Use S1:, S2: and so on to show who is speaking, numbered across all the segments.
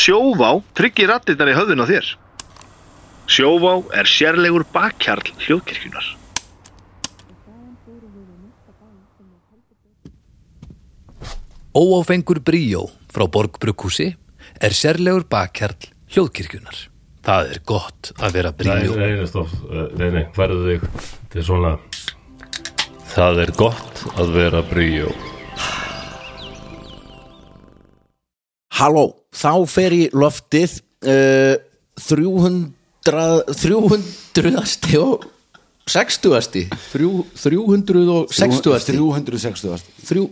S1: Sjóvá tryggir rattirnar í höfðun á þér. Sjóvá er sérlegur bakkjarl hljóðkirkjunar.
S2: Óáfengur bríó frá Borgbrukkúsi er sérlegur bakkjarl hljóðkirkjunar. Það er gott að vera
S3: Nei,
S2: bríó.
S3: nei, nei, stopp, eh, nei, nei, færðu þig Þetta er svona Það er gott að vera bríjó
S4: Halló, þá fer í loftið uh, 300 300 og 60 360
S5: 360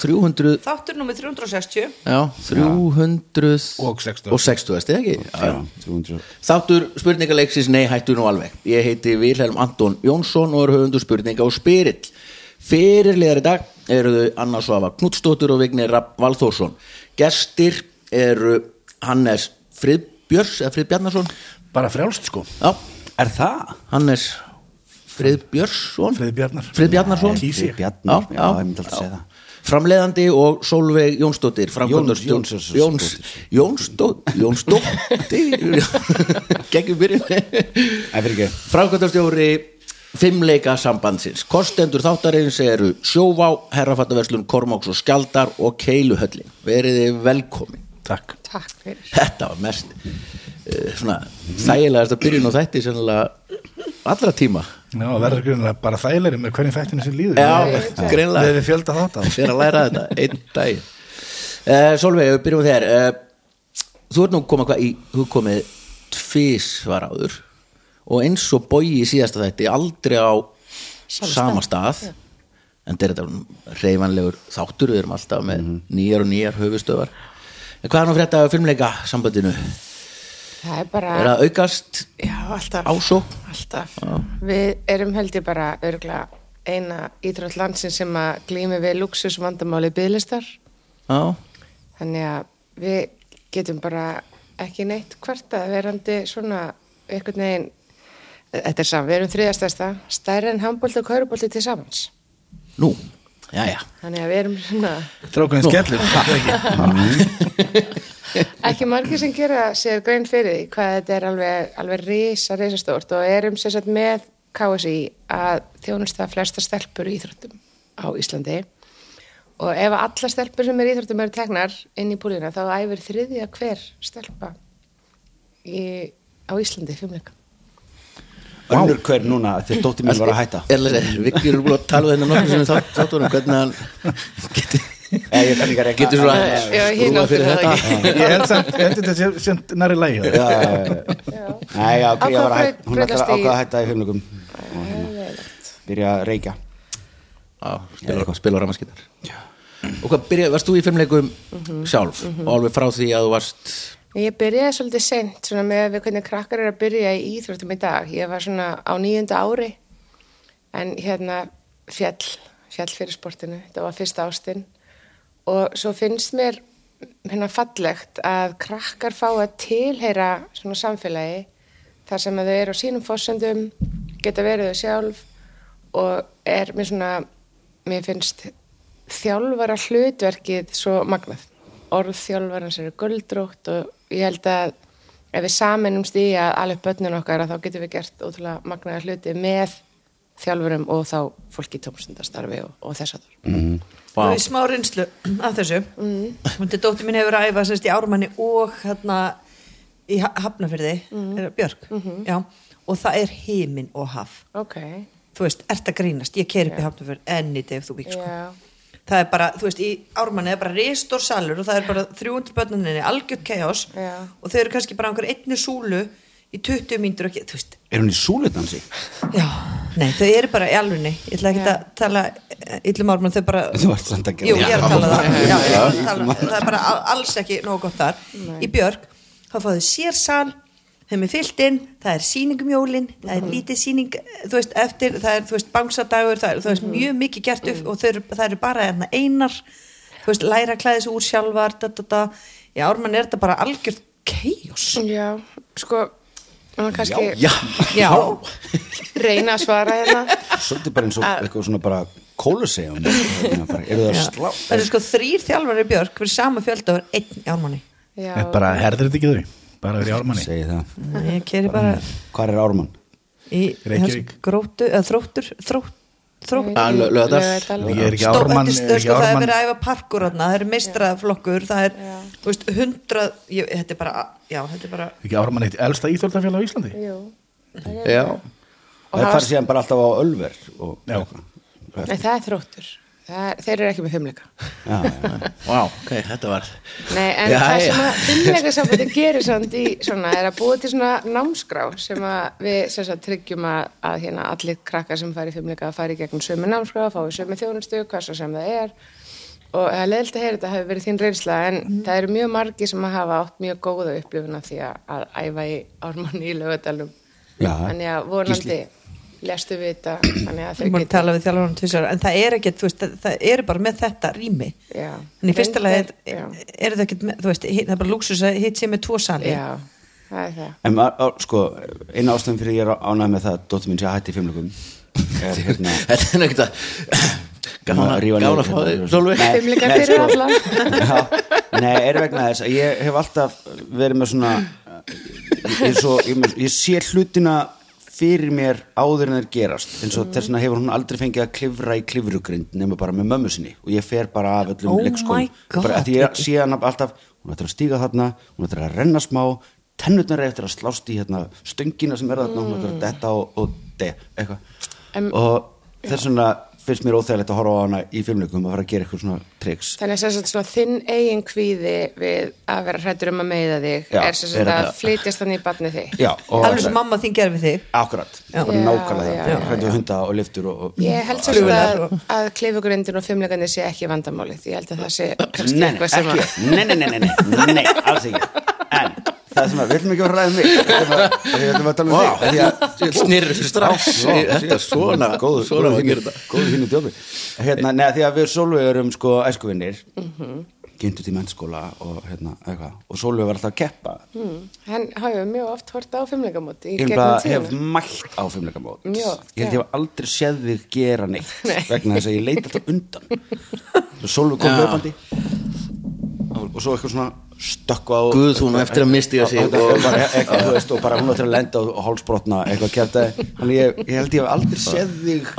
S4: 300
S6: Þáttur nummer 360
S4: já, 300
S5: Og 60.
S4: og 60 ekki?
S5: Já, 300
S4: Þáttur spurningaleiksins Nei hættu nú alveg Ég heiti Vilhelm Anton Jónsson og er höfundu spurninga og spyrill Fyrirlegar í dag eru þau Anna Svafa Knutstóttur og Vignir Rapp Valþórsson Gestir eru Hannes Friðbjörs eða Friðbjarnarsson
S5: Bara frjálst sko
S4: Já,
S5: Er það?
S4: Hannes Friðbjörnsson
S5: Friðbjarnar.
S4: Friðbjarnarsson
S5: Nei,
S4: Já,
S5: Kísi.
S4: já,
S7: Friðbjarnar, já, ég myndi alltaf segja það.
S4: Framleiðandi og Solveig Jónsdóttir framkvæmdastjó-
S7: Jóns- Jónsdóttir.
S4: Jóns, Jónsdó- Jónsdóttir Gekkum byrjun
S7: Það fyrir ekki
S4: Framkvæmtastjóri fimmleika sambandsins. Kostendur þáttarins eru Sjóvá, Herrafattaverslun, Kormáks og Skjaldar og Keiluhöllin. Veriði velkomin.
S5: Takk
S6: Takk fyrir
S4: Þetta var mest uh, svona þægilegast að byrjun á þætti sennilega allra tíma.
S5: Já, það verður grunlega bara þægilegri með hvernig þættinu sem líður
S4: Já,
S5: Við
S4: greinlega.
S5: hefum fjölda þátt af
S4: Fyrir að læra þetta einn dag. Uh, Solveig, við byrjum á þér. Uh, þú ert nú komið hvað í, þú ert komið tvísvar áður og eins og bogi í síðasta þætti aldrei á sama stað en þetta er þetta reyfanlegur þáttur við erum alltaf með nýjar og nýjar höfustöðar en hvað er nú frétta af filmleika sambandinu?
S8: Það er bara
S4: Er það aukast?
S8: Já, alltaf
S4: Ásókn?
S8: Alltaf Við erum held ég bara örgla eina íþrótt landsin sem að glými við luxus vandamáli byðlistar
S4: Já,
S8: þannig að við getum bara ekki neitt kvartað verandi svona einhvern veginn Þetta er saman, við erum þriðastæsta stærri en handbólti og kaurubólti til samans
S4: nú, já já
S8: þannig að við erum svona
S5: Strákurinn skellur það er ekki.
S8: ekki margir sem gera sér grein fyrir því hvað þetta er alveg, alveg risa, risa stórt og erum sér satt með KSI að þjónusta flesta stelpur í íþróttum á Íslandi og ef alla stelpur sem er í íþróttum eru teknar inn í búlina þá æfir þriðja hver stelpa í, á Íslandi fimmleika.
S7: Önnur hver núna þegar dóttir mín var að hætta
S4: Erlega, Vikir er búin að tala við hennar nokkuð sem þátt, þáttunum hvernig hann getur
S7: Nei, ég kann ekki að reikna.
S4: getur svona
S8: Nei, já,
S6: hérna.
S8: hinn
S4: rúlað
S8: átti
S4: fyrir
S8: það
S4: þetta
S5: Ég held samt, ég held þetta sé- sé næri lægi
S7: Já, já, já. Nei, já, ok, ég var að
S8: Ákvað
S7: hætta Hún ætlaði
S8: breytast í-
S7: ákvað að hætta í hugmyndum og hérna, byrja að reykja
S4: Já, spila, spila ramaskittar Og hvað byrjaði, varst þú í fimmleikum
S8: Mhm.
S4: sjálf og alveg frá því að þú varst
S8: Ég byrjaði svolítið sent svona með við hvernig krakkar eru að byrja í íþróttum í dag. Ég var svona á nýjunda ári en hérna fjall, fjall fyrir sportinu. Þetta var fyrsta ástinn og svo finnst mér hérna fallegt að krakkar fá að tilheyra svona samfélagi þar sem að þau eru á sínum fórsendum, geta verið þau sjálf og er mér svona, mér finnst þjálfara hlutverkið svo magnað. Orð þjálfarans eru guldrótt og ég held að ef við saminumst í að alveg börnin okkar að þá getum við gert ótrúlega magnaða hluti með þjálfurum og þá fólki í tómstundastarfi og, og þess að það.
S6: Þú hefur smá reynslu af þessu mm. Mundi dóttir mín hefur að æfa sérst í Ármanni og hérna í Ha- Hafnarfirði
S8: Mm.
S6: er það Björk
S8: Mhm.
S6: Já, og það er heimin og haf
S8: Ok,
S6: Þú veist, ert að grínast, ég keir upp í Hafnarfjörð enni day of the week sko.
S8: já,
S6: það er bara, þú veist, í ármanni er bara reistór salur og það er bara 300 börnuninni algjörn chaos
S8: Já.
S6: og þau eru kannski bara á einhver einni súlu í 20 mínútur og ekki, þú veist,
S7: Er hún í súlutansi?
S6: já nei, þau eru bara í alvunni, ég ætla ekki að tala eh, illum ármann, þau bara
S7: Þú ert samt að gera
S6: Jú, ég er að tala um það já, ég er að
S7: Já.
S6: tala, um það er bara al- alls ekki nógu gott þar í Björk, þá fáðu sér sal þeim er fyllt inn, það er sýningum jólin það er lítið sýning, þú veist, eftir það er, þú veist, bangsadagur, það er, þú veist, mjög mikið gert upp og þau eru- það eru bara hérna einar þú veist, læra að klæða sig úr sjálfar da, da, da. já, Ármann er þetta bara algjörð keijós
S8: já, sko, maður kannski
S7: Já,
S6: já,
S8: reyna að svara hérna.
S7: svolítið bara eins og eitthvað svona bara kólusegjum Hérna Eru það að slá
S6: það eru sko þrýr þjálfari í Björk fyrir sama fjöldagur, einn í Ármanni
S8: já,
S5: En bara herðir þetta ekki þau Bara verið
S6: sko-
S5: ármanni
S7: segi það
S6: Ég keri bara
S7: Hvar er Ármann?
S6: í
S5: Reykjavík.
S6: hans gróttu, eða þróttur, þrótt,
S8: Mm.
S6: þrótt.
S4: Ah, Laug- Laugardal.
S8: Laugardal.
S5: Ég er ekki
S6: Stór,
S5: ármann
S6: þetta er
S5: er
S6: stöð,
S5: ekki
S6: sko, það er
S5: ármann
S6: verið að æfa parkur þarna, það er meistraflokkur, það er, þú veist, hundrað, ég, þetta er bara, já, þetta er bara,
S5: Ekki ármann eitt elsta íþjóltafélag á Íslandi
S8: Jú.
S4: Já,
S8: Og
S7: Það
S8: það,
S7: fari
S8: var,
S7: síðan bara alltaf á Ölver og,
S5: Já.
S8: nei, það er þróttur það er, þeir eru ekki með fimmleika
S7: Já, já.
S4: vá, ok, þetta var
S8: Nei, en
S4: Já,
S8: það sem
S4: já.
S8: að fimmleikasambandi gerir samt í svona er að búa til svona námskrá sem að við sem sagt, tryggjum að, að hérna, allir krakkar sem fari í fimmleika að fari í gegnum sömu námskrá, fái sömu þjónustu, hvað svo sem það er og það er leðilt að heyra þetta hefur verið þín reynsla en
S6: Mhm.
S8: það eru mjög margi sem að hafa átt mjög góða upplifuna því að, að æfa í ármanni í lögadalum
S7: Já.
S8: þannig að vonandi lestu við þetta þannig að
S6: ég
S8: þau
S6: múin að tala við þjálfurinn tvisar, en það er ekkert, þú veist, það, það er bara með þetta rými.
S8: Já.
S6: En í fyrsta lagi
S8: Reyndar-
S6: er,
S8: já.
S6: er það ekkert, með- þú veist, hitt- það er bara lúksus að hitt sé með tvo sali.
S8: Já, það er það
S7: En maður, á- sko, eina ástæðum fyrir ég er ánægð með það að dóttir mín sé að hætti í fimmlökum er hérna
S4: Þetta er nögt að Gaman að
S7: Rífa niður. hérna.
S4: gaman að fá þig Sólveig
S7: Nei,
S8: Fimmleikar
S7: nei,
S8: fyrir
S7: sko.
S8: alla.
S7: Já, Nei, er vegna þess að ég hef alltaf verið með svona ég, er svo, ég, er með- ég sé hlutina fyrir mér áður en þeir gerast eins og þess vegna hefur hún aldrei fengið að klifra í klifrugrind nema bara með mömmu sinni og ég fer bara af öllum
S6: Oh my
S7: leikskólum
S6: God,
S7: bara að ég sé hann alltaf hún ætlar að stíga þarna, hún ætlar að renna smá tennutnar eftir að slást í hérna, stöngina sem er þarna, hún ætlar að detta og, og de, eitthvað
S8: Mm. Em,
S7: og þess vegna finnst mér óþægilegt að horfa á hana í filmleikum að fara að gera eitthvað svona triks
S8: Þannig að sem sagt svona þinn eigin kvíði við að vera hrættur um að meiða þig
S7: Já,
S8: er sem
S7: er
S8: sagt að
S7: þetta-
S8: flytjast þannig í barnið þig.
S7: já, og
S6: Alveg sem mamma þín gerði við þig.
S7: akkurat,
S6: Já.
S7: bara
S8: Já,
S7: nákvæmlega
S8: já,
S7: það
S8: já,
S7: hrættu hunda og liftur og, og
S8: Ég held sem sagt að, að klifugurindin og fimmleikandi sé ekki vandamálið. Ég held að það sé kannski
S7: nei, nei,
S8: eitthvað sem
S7: ekki, nei, nei, nei, nei, nei, nei, alls ekki en það sem að, við ætlum ekki að ræða um mig við ætlum að- við ætlum að tala um
S4: Vá,
S7: þig af því að-
S4: snirrur strax
S7: Já,
S4: í- Þetta er svona
S7: góður
S4: Svona að gera
S7: hinn góður hinn í djófi hérna, neða því að við Sólveig erum sko æskuvinnir mm
S8: Mhm.
S7: kynntu til mennskóla og hérna eitthvað og Sólveig var alltaf að keppa
S8: Mm, Hann hafa mjög oft hort á fimmleikamóti í
S7: ég
S8: gegnum
S7: bara
S8: tíðina.
S7: hef mætt á fimmleikamót ég
S8: Mjög,
S7: held ég
S8: já.
S7: hef aldrei séð þig gera neitt
S8: Nei.
S7: vegna þess að ég leita alltaf undan og Sólveig kom
S4: Já.
S7: hlaupandi og og svo eitthvað svona stökkva á
S4: Guð, hún á eftir að mistiga sig
S7: og,
S4: og-
S7: og, bara, eitthvað, þú veist, og bara hún á eftir að lenda og, og hálsbrotna eitthvað kjarta þannig ég, ég held ég hef aldrei séð þig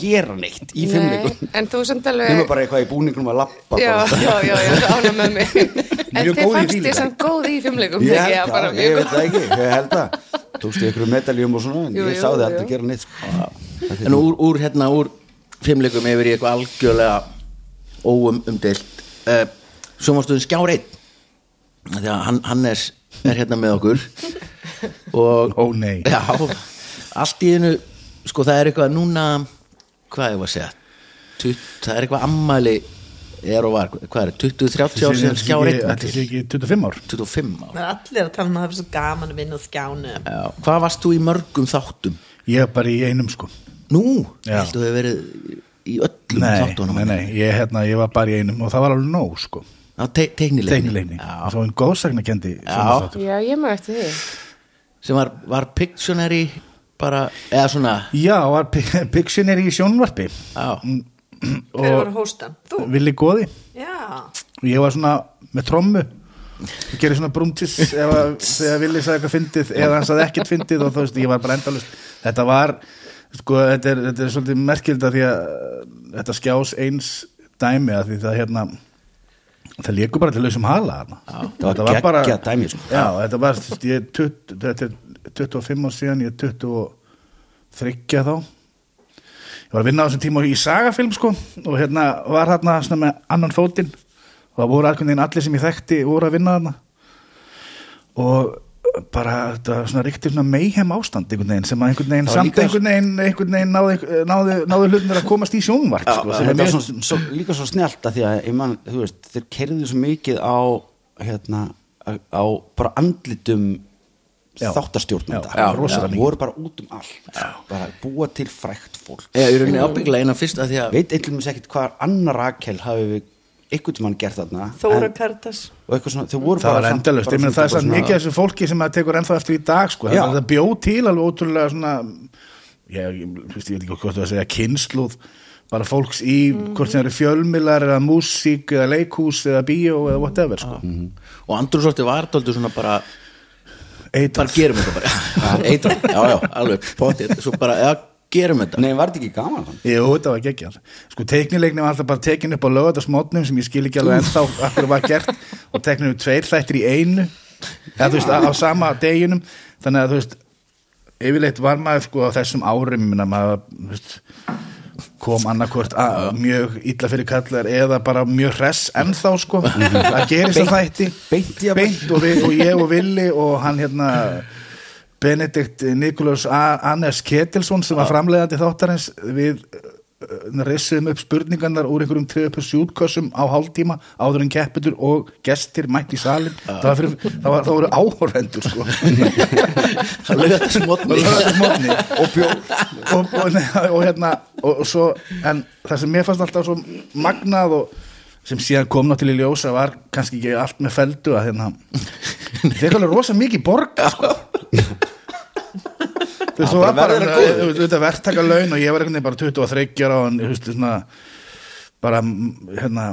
S7: gera neitt í fimmleikum
S8: Nei, En þú samt alveg...
S7: nema bara eitthvað í búningnum að lappa
S8: Já, já, já, já, ána með mig. En
S5: Mjög
S8: þið
S5: góð í
S8: fannst
S5: því
S8: ég
S5: líka.
S8: samt góð í fimmleikum.
S7: ég
S8: ekki? Já,
S7: held
S8: bara
S7: það,
S8: mjög
S7: ég
S8: góð.
S7: veit það ekki, ég held það tókstu ykkur medaljum og svona en
S8: Jú,
S7: ég
S8: jú,
S7: sá þið
S8: jú.
S7: aldrei gera neitt sko.
S4: En úr, úr hérna, úr fimmleikum yfir í eitthvað algjörlega óum umdelt uh, Svo mástu við skjárið Þegar hann, Hannes er hérna með okkur og,
S5: Ó, nei.
S4: Já, allt í einu Sko það er eitthvað núna Hvað ég var að segja Tut, Það er eitthvað ammæli er og var, hvað er, 20-30 ár síðan skjárið
S5: Þetta sé ekki 25 ár
S4: 25 ár
S6: Það er allir að tala um að það er svo gaman að vinna á skjánu.
S4: já. Hvað varst þú í mörgum þáttum?
S5: Ég er bara í einum sko
S4: Nú,
S5: Já.
S4: heldur þú hefur verið í öllum
S5: Nei,
S4: þáttunum
S5: nei, nei, ég, hérna, ég var bara í einum og það var alveg nóg sko
S4: Já, te teiknilegni.
S5: Tegnilegni,
S4: Já,
S5: svo en góðsagnakendi
S8: Já, ég maður eftir því.
S4: sem var, var Pictionary bara, eða svona
S5: Já, var Pictionary í sjónvarpi
S4: Já.
S6: Hver
S5: og
S6: var hóstan? Þú?
S5: Vili Góði
S6: Já.
S5: og ég var svona með trommu og gerði svona brúmtis ef að- þegar Vili sagði eitthvað fyndið eða hann sagði ekkert fyndið og þú veist, ég var bara endalust þetta var, sko, þetta er, þetta er svolítið merkild að því að uh, þetta skjás eins dæmi að því það hérna það leikur bara til lausum hala þarna
S7: Það var
S5: Þetta
S7: geggjað dæmi, sko.
S5: já, þetta var, þú veist, ég er 20 þetta er 25 ár síðan, ég er 23 þá ég var að vinna á þessum tíma í sagafilm sko og hérna var hérna svona með annan fótinn og það voru alveg allir sem ég þekkti voru að vinna þarna og bara þetta var svona ríkti svona meihem ástand einhvern veginn sem að einhvern veginn
S4: Það var
S5: samt
S4: líka-
S5: einhvern veginn, einhvern veginn náðu, náðu, náðu hlutinir að komast í sjónvarp sko, sem
S7: Þetta
S5: er
S7: var
S5: mjög
S7: svo, svo, líka svo snjált að því að ég man, þú veist, þeir kerðu svo mikið á hérna, á á bara andlitum
S5: Já.
S7: þáttastjórnanda
S5: Já, já, rosalega mikið.
S7: voru bara út um allt bara búa til frækt fólk
S4: eða í rauninni ábyggla eina fyrst að því að
S7: veit eitthvað mér ekkert hvað annar Rakel hafi við einhvern tímann gert þarna
S6: Þóra
S7: en-
S6: Kardas.
S7: og eitthvað svona, þau voru
S5: það
S7: bara
S5: var
S7: samt-
S5: endalust,
S7: bara
S5: ég meina
S7: svona-
S5: það er samt
S7: svona-
S5: mikið af þessu fólki sem það tekur ennþá eftir í dag sko,
S7: Já.
S5: það, það bjóð til alveg ótrúlega svona ég, ég, ég, veist, ég veit ekki hvað það að segja kynsluð bara fólks í
S7: Mhm.
S5: hvort sem eru fjölmilar eða músík eða leikhús eða bíó eða whatever sko.
S4: og andrúrsorti var tóldu svona bara
S5: Eitrað.
S4: bara gerum þetta bara Eitra, já, já, alveg, potið svo bara, já, gerum þetta
S7: Nei, var þetta ekki gaman hann?
S5: Jú, þetta var geggjað Sko, teknileikni var alltaf bara tekin upp á lögatarsmótnum sem ég skil ekki alveg ennþá akkur var gert og teknir upp tveir þættir í einu eða þú veist, á á sama deginum þannig að þú veist yfirleitt var maður sko á þessum árum minna maður, þú veist kom annarkvort að mjög illa fyrir kallar eða bara mjög hress ennþá sko, það gerist að þætti
S7: Mhm. beint jafnvel.
S5: beint og, við, og ég og Willi og hann hérna Benedikt Nikolás A- Annes Ketilsson sem var framleiðandi þáttarins við uh, rissuðum upp spurningarnar úr einhverjum 3.7 kössum á hálftíma áður en keppetur og gestir mætt í salin
S4: Ah.
S5: það, var fyrir, það, var, það voru áhorfendur sko
S4: það lögða þetta smotni
S5: smotni og bjór og, og, nei, og hérna og, og svo, en það sem mér fannst alltaf svo magnað og sem síðan kom náttúrulega í ljósa var kannski ekki allt með feldu að hérna þeir kallar rosa mikið borga sko. þú veist, þú var bara þetta verktaka laun og ég var einhvern veginn bara 23 ára og þú veist, svona bara, m- hérna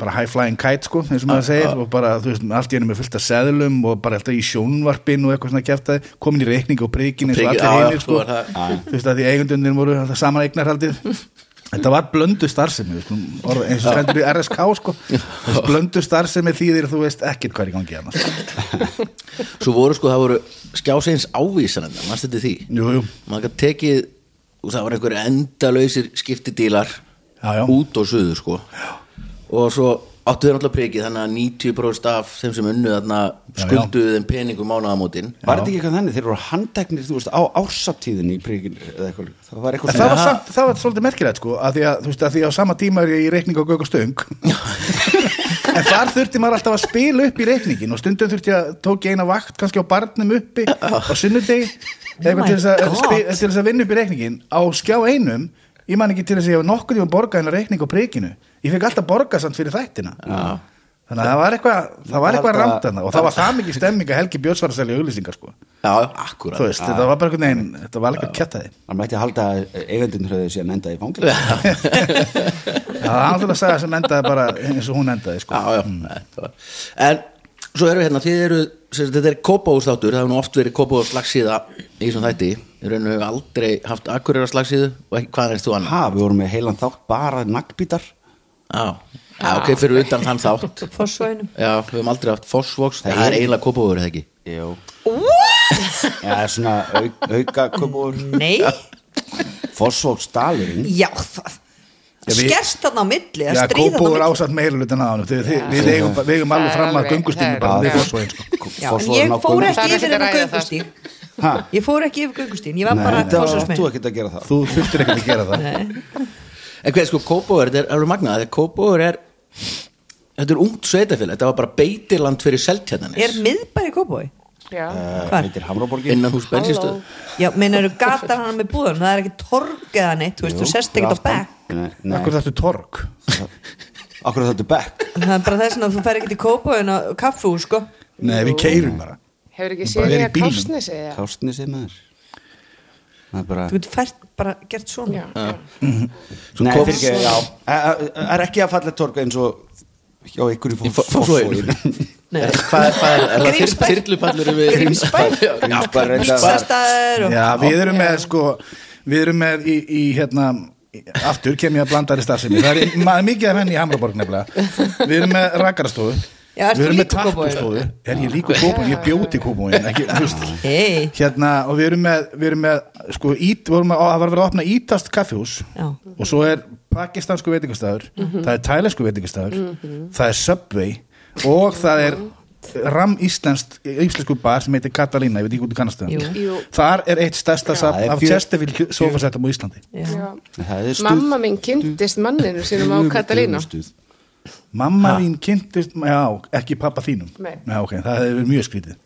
S5: bara high flying kite sko, eins og maður segir og bara, þú veist, allt í henni með fullt af seðlum og bara alltaf í sjónvarpinu og eitthvað svona kjæftaði komin í reikning og prikinn eins og
S4: Prikið,
S5: allir
S4: já, já,
S5: hinir
S4: svo
S5: sko,
S4: er það.
S5: þú veist að því eigundunir voru alltaf saman eignarhaldið þetta var blöndu starfsemi við skulum orða- eins og stendur í RSK sko Þessi blöndu starfsemi þýðir þú veist ekkert hvað er í gangi hérna, sko. annars
S4: svo voru sko, það voru skjásegins ávísan maður stætti því
S5: jú, jú.
S4: maður gæti tekið og það var einhverju endalausir skiptidílar
S5: Já, já.
S4: út og suður sko og svo áttu þeir alltaf prikið þannig að 90% af þeim sem unnu þarna
S5: já.
S4: skulduðu þeim peningum mánaðamótin
S7: Var þetta ekki eitthvað þannig? Þeir voru handteknir, þú veist, á ársaptíðinni í prikinu eða eitthvað Það var eitthvað
S5: En það var, samt, það var svolítið merkilegt sko að því að, þú veist, að því að á sama tíma er ég í reikning á gög og stöng en þar þurfti maður alltaf að spila upp í reikningin og stundum þurfti að tók ég eina vakt kannski á barnum uppi á sunnudegi
S6: Oh
S5: eða eitthvað
S6: my
S5: til þess, að,
S6: God.
S5: spi, til þess að vinna upp í reikningin á skjá einum ég man ekki til þess að ég hef nokkuð tíma borgað hennar reikning á prikinu ég fekk alltaf borgað samt fyrir þættina Já. þannig að það var eitthvað það var eitthvað
S7: Þetta-
S5: ramt þarna og það var það mikið stemming að Helgi Björns var að selja auglýsingar sko
S4: já,
S5: þú
S4: akkurat
S5: veist, þetta var bara einhvern veginn þetta var alveg kjattaði
S7: Það mætti að halda eigandinn hröðu síðan enda í fanglega
S5: Já, það er alltaf að segja sem endaði bara eins og hún endaði sko.
S4: já, já, þetta var- en svo erum við hérna þið eru, sem, sagt, þetta er kópáhúsþáttur það hefur nú oft verið kópáhús slagsíða í þessum þætti í rauninu hefur aldrei haft akkurera slagsíðu og ekki, hvað er þú annar?
S7: Ha, við vorum með heilan þátt bara naglbítar
S4: Já, já, ok, fyrir utan þann þátt
S6: Fossvoginum
S4: Já, við höfum aldrei haft Fossvox Það, er eiginlega kópavöru það ekki
S7: Jú Já, svona au, auka köpúr
S6: Nei,
S7: Fossvóksdalurinn
S6: já það
S5: við-
S6: Skerst þarna á milli að
S5: Já,
S6: stríða
S5: Kópó er
S6: þarna á milli.
S5: ásatt meira hlutin að honum Þið- þið- Við eigum, við eigum alveg
S8: Það er
S5: fram að
S8: alveg-
S5: göngustími
S8: það er
S5: bara
S8: alveg-
S5: við fórsvogin sko.
S6: Já, Ég fór ekki
S8: Það er
S6: yfir
S8: ekkert að
S6: hennar
S8: ræða það,
S6: göngustíg
S7: Ha?
S6: Ég fór ekki yfir göngustígin, ég var
S7: Nei,
S6: bara
S7: þetta
S6: Fossvogsmein
S7: Þú ekkert að gera það
S5: Þú þurftir ekkert að gera það
S4: En hvað, sko, kópavöru, þetta er alveg magnað Þegar kópavöru er Þetta er ungt sveitafélag, þetta var bara beitiland fyrir
S6: Er
S4: seltjarnanis
S6: miðbæri Kópói?
S8: Já,
S7: Uh,
S6: Hvar?
S7: Þetta er Hamraborgin
S4: Innan hús bensinstöð
S6: Já, meinar þú gatar hana með búðum Það er ekki torg eða neitt, þú veist, þú sest ekkert á bekk
S7: bekk
S5: Akkur þetta er torg
S7: Akkur þetta er bekk
S6: Það er bara þess að þú fer ekki til Kópóin á kaffú, sko
S5: Nei, við keirum bara
S8: hefur ekki
S5: Bara
S8: séð
S5: er í
S8: ég að
S5: bílnum.
S8: kásnesi eða?
S7: Kástinni sem er Það er bara
S6: Þú getur fært bara gert svona
S8: Já, já.
S7: Nei,
S4: kom-
S7: fyrir ekki, já Ä- ä- Er ekki að falla torg eins og hjá ykkur í
S4: Í Fo- Fossvoginum.
S6: Nei.
S4: Er- Hvað er, hvað er, er það þyr-
S6: Grímsbær.
S4: þyrlupallur við
S6: Grímsbær.
S7: Grímsbær er enda-
S6: Pítsastæður og
S5: Já, við erum með sko Við erum með í, í hérna Aftur kem ég að blanda þér í starfsemi Það er ma- mikið af henni í Hamraborg nefnilega Við erum með rakarastofu
S6: Já, ertu
S5: Við erum með
S6: líka Kópavogur?
S5: tappustofu Er ég líka kópóin, ég bjóti kópóin Ekki, þú veist
S6: Hei,
S5: hérna, og við erum með, við erum með sko, ít, vorum að, það var verið að opna ítast kaffihús
S6: Já.
S5: og svo er pakistansku veitingastæður
S8: Mhm.
S5: það er tælesku veitingastæður það er Subway og það er ram íslenskt íslensku bar sem heitir Katalína, ég veit ekki hvort þú kannast
S6: Jú.
S8: Jú.
S5: það þar er eitt stærsta
S7: það
S5: safn
S7: er
S5: af
S7: fjör-
S5: Chesterfield sofasettum á Íslandi
S8: Já.
S7: Það er stuð
S8: Mamma mín kynntist manninu sínum á Katalínu
S7: Stuð.
S5: mamma þín kynntist, já, ekki pappa þínum
S8: Nei.
S5: já, ok, það hefur verið mjög skrítið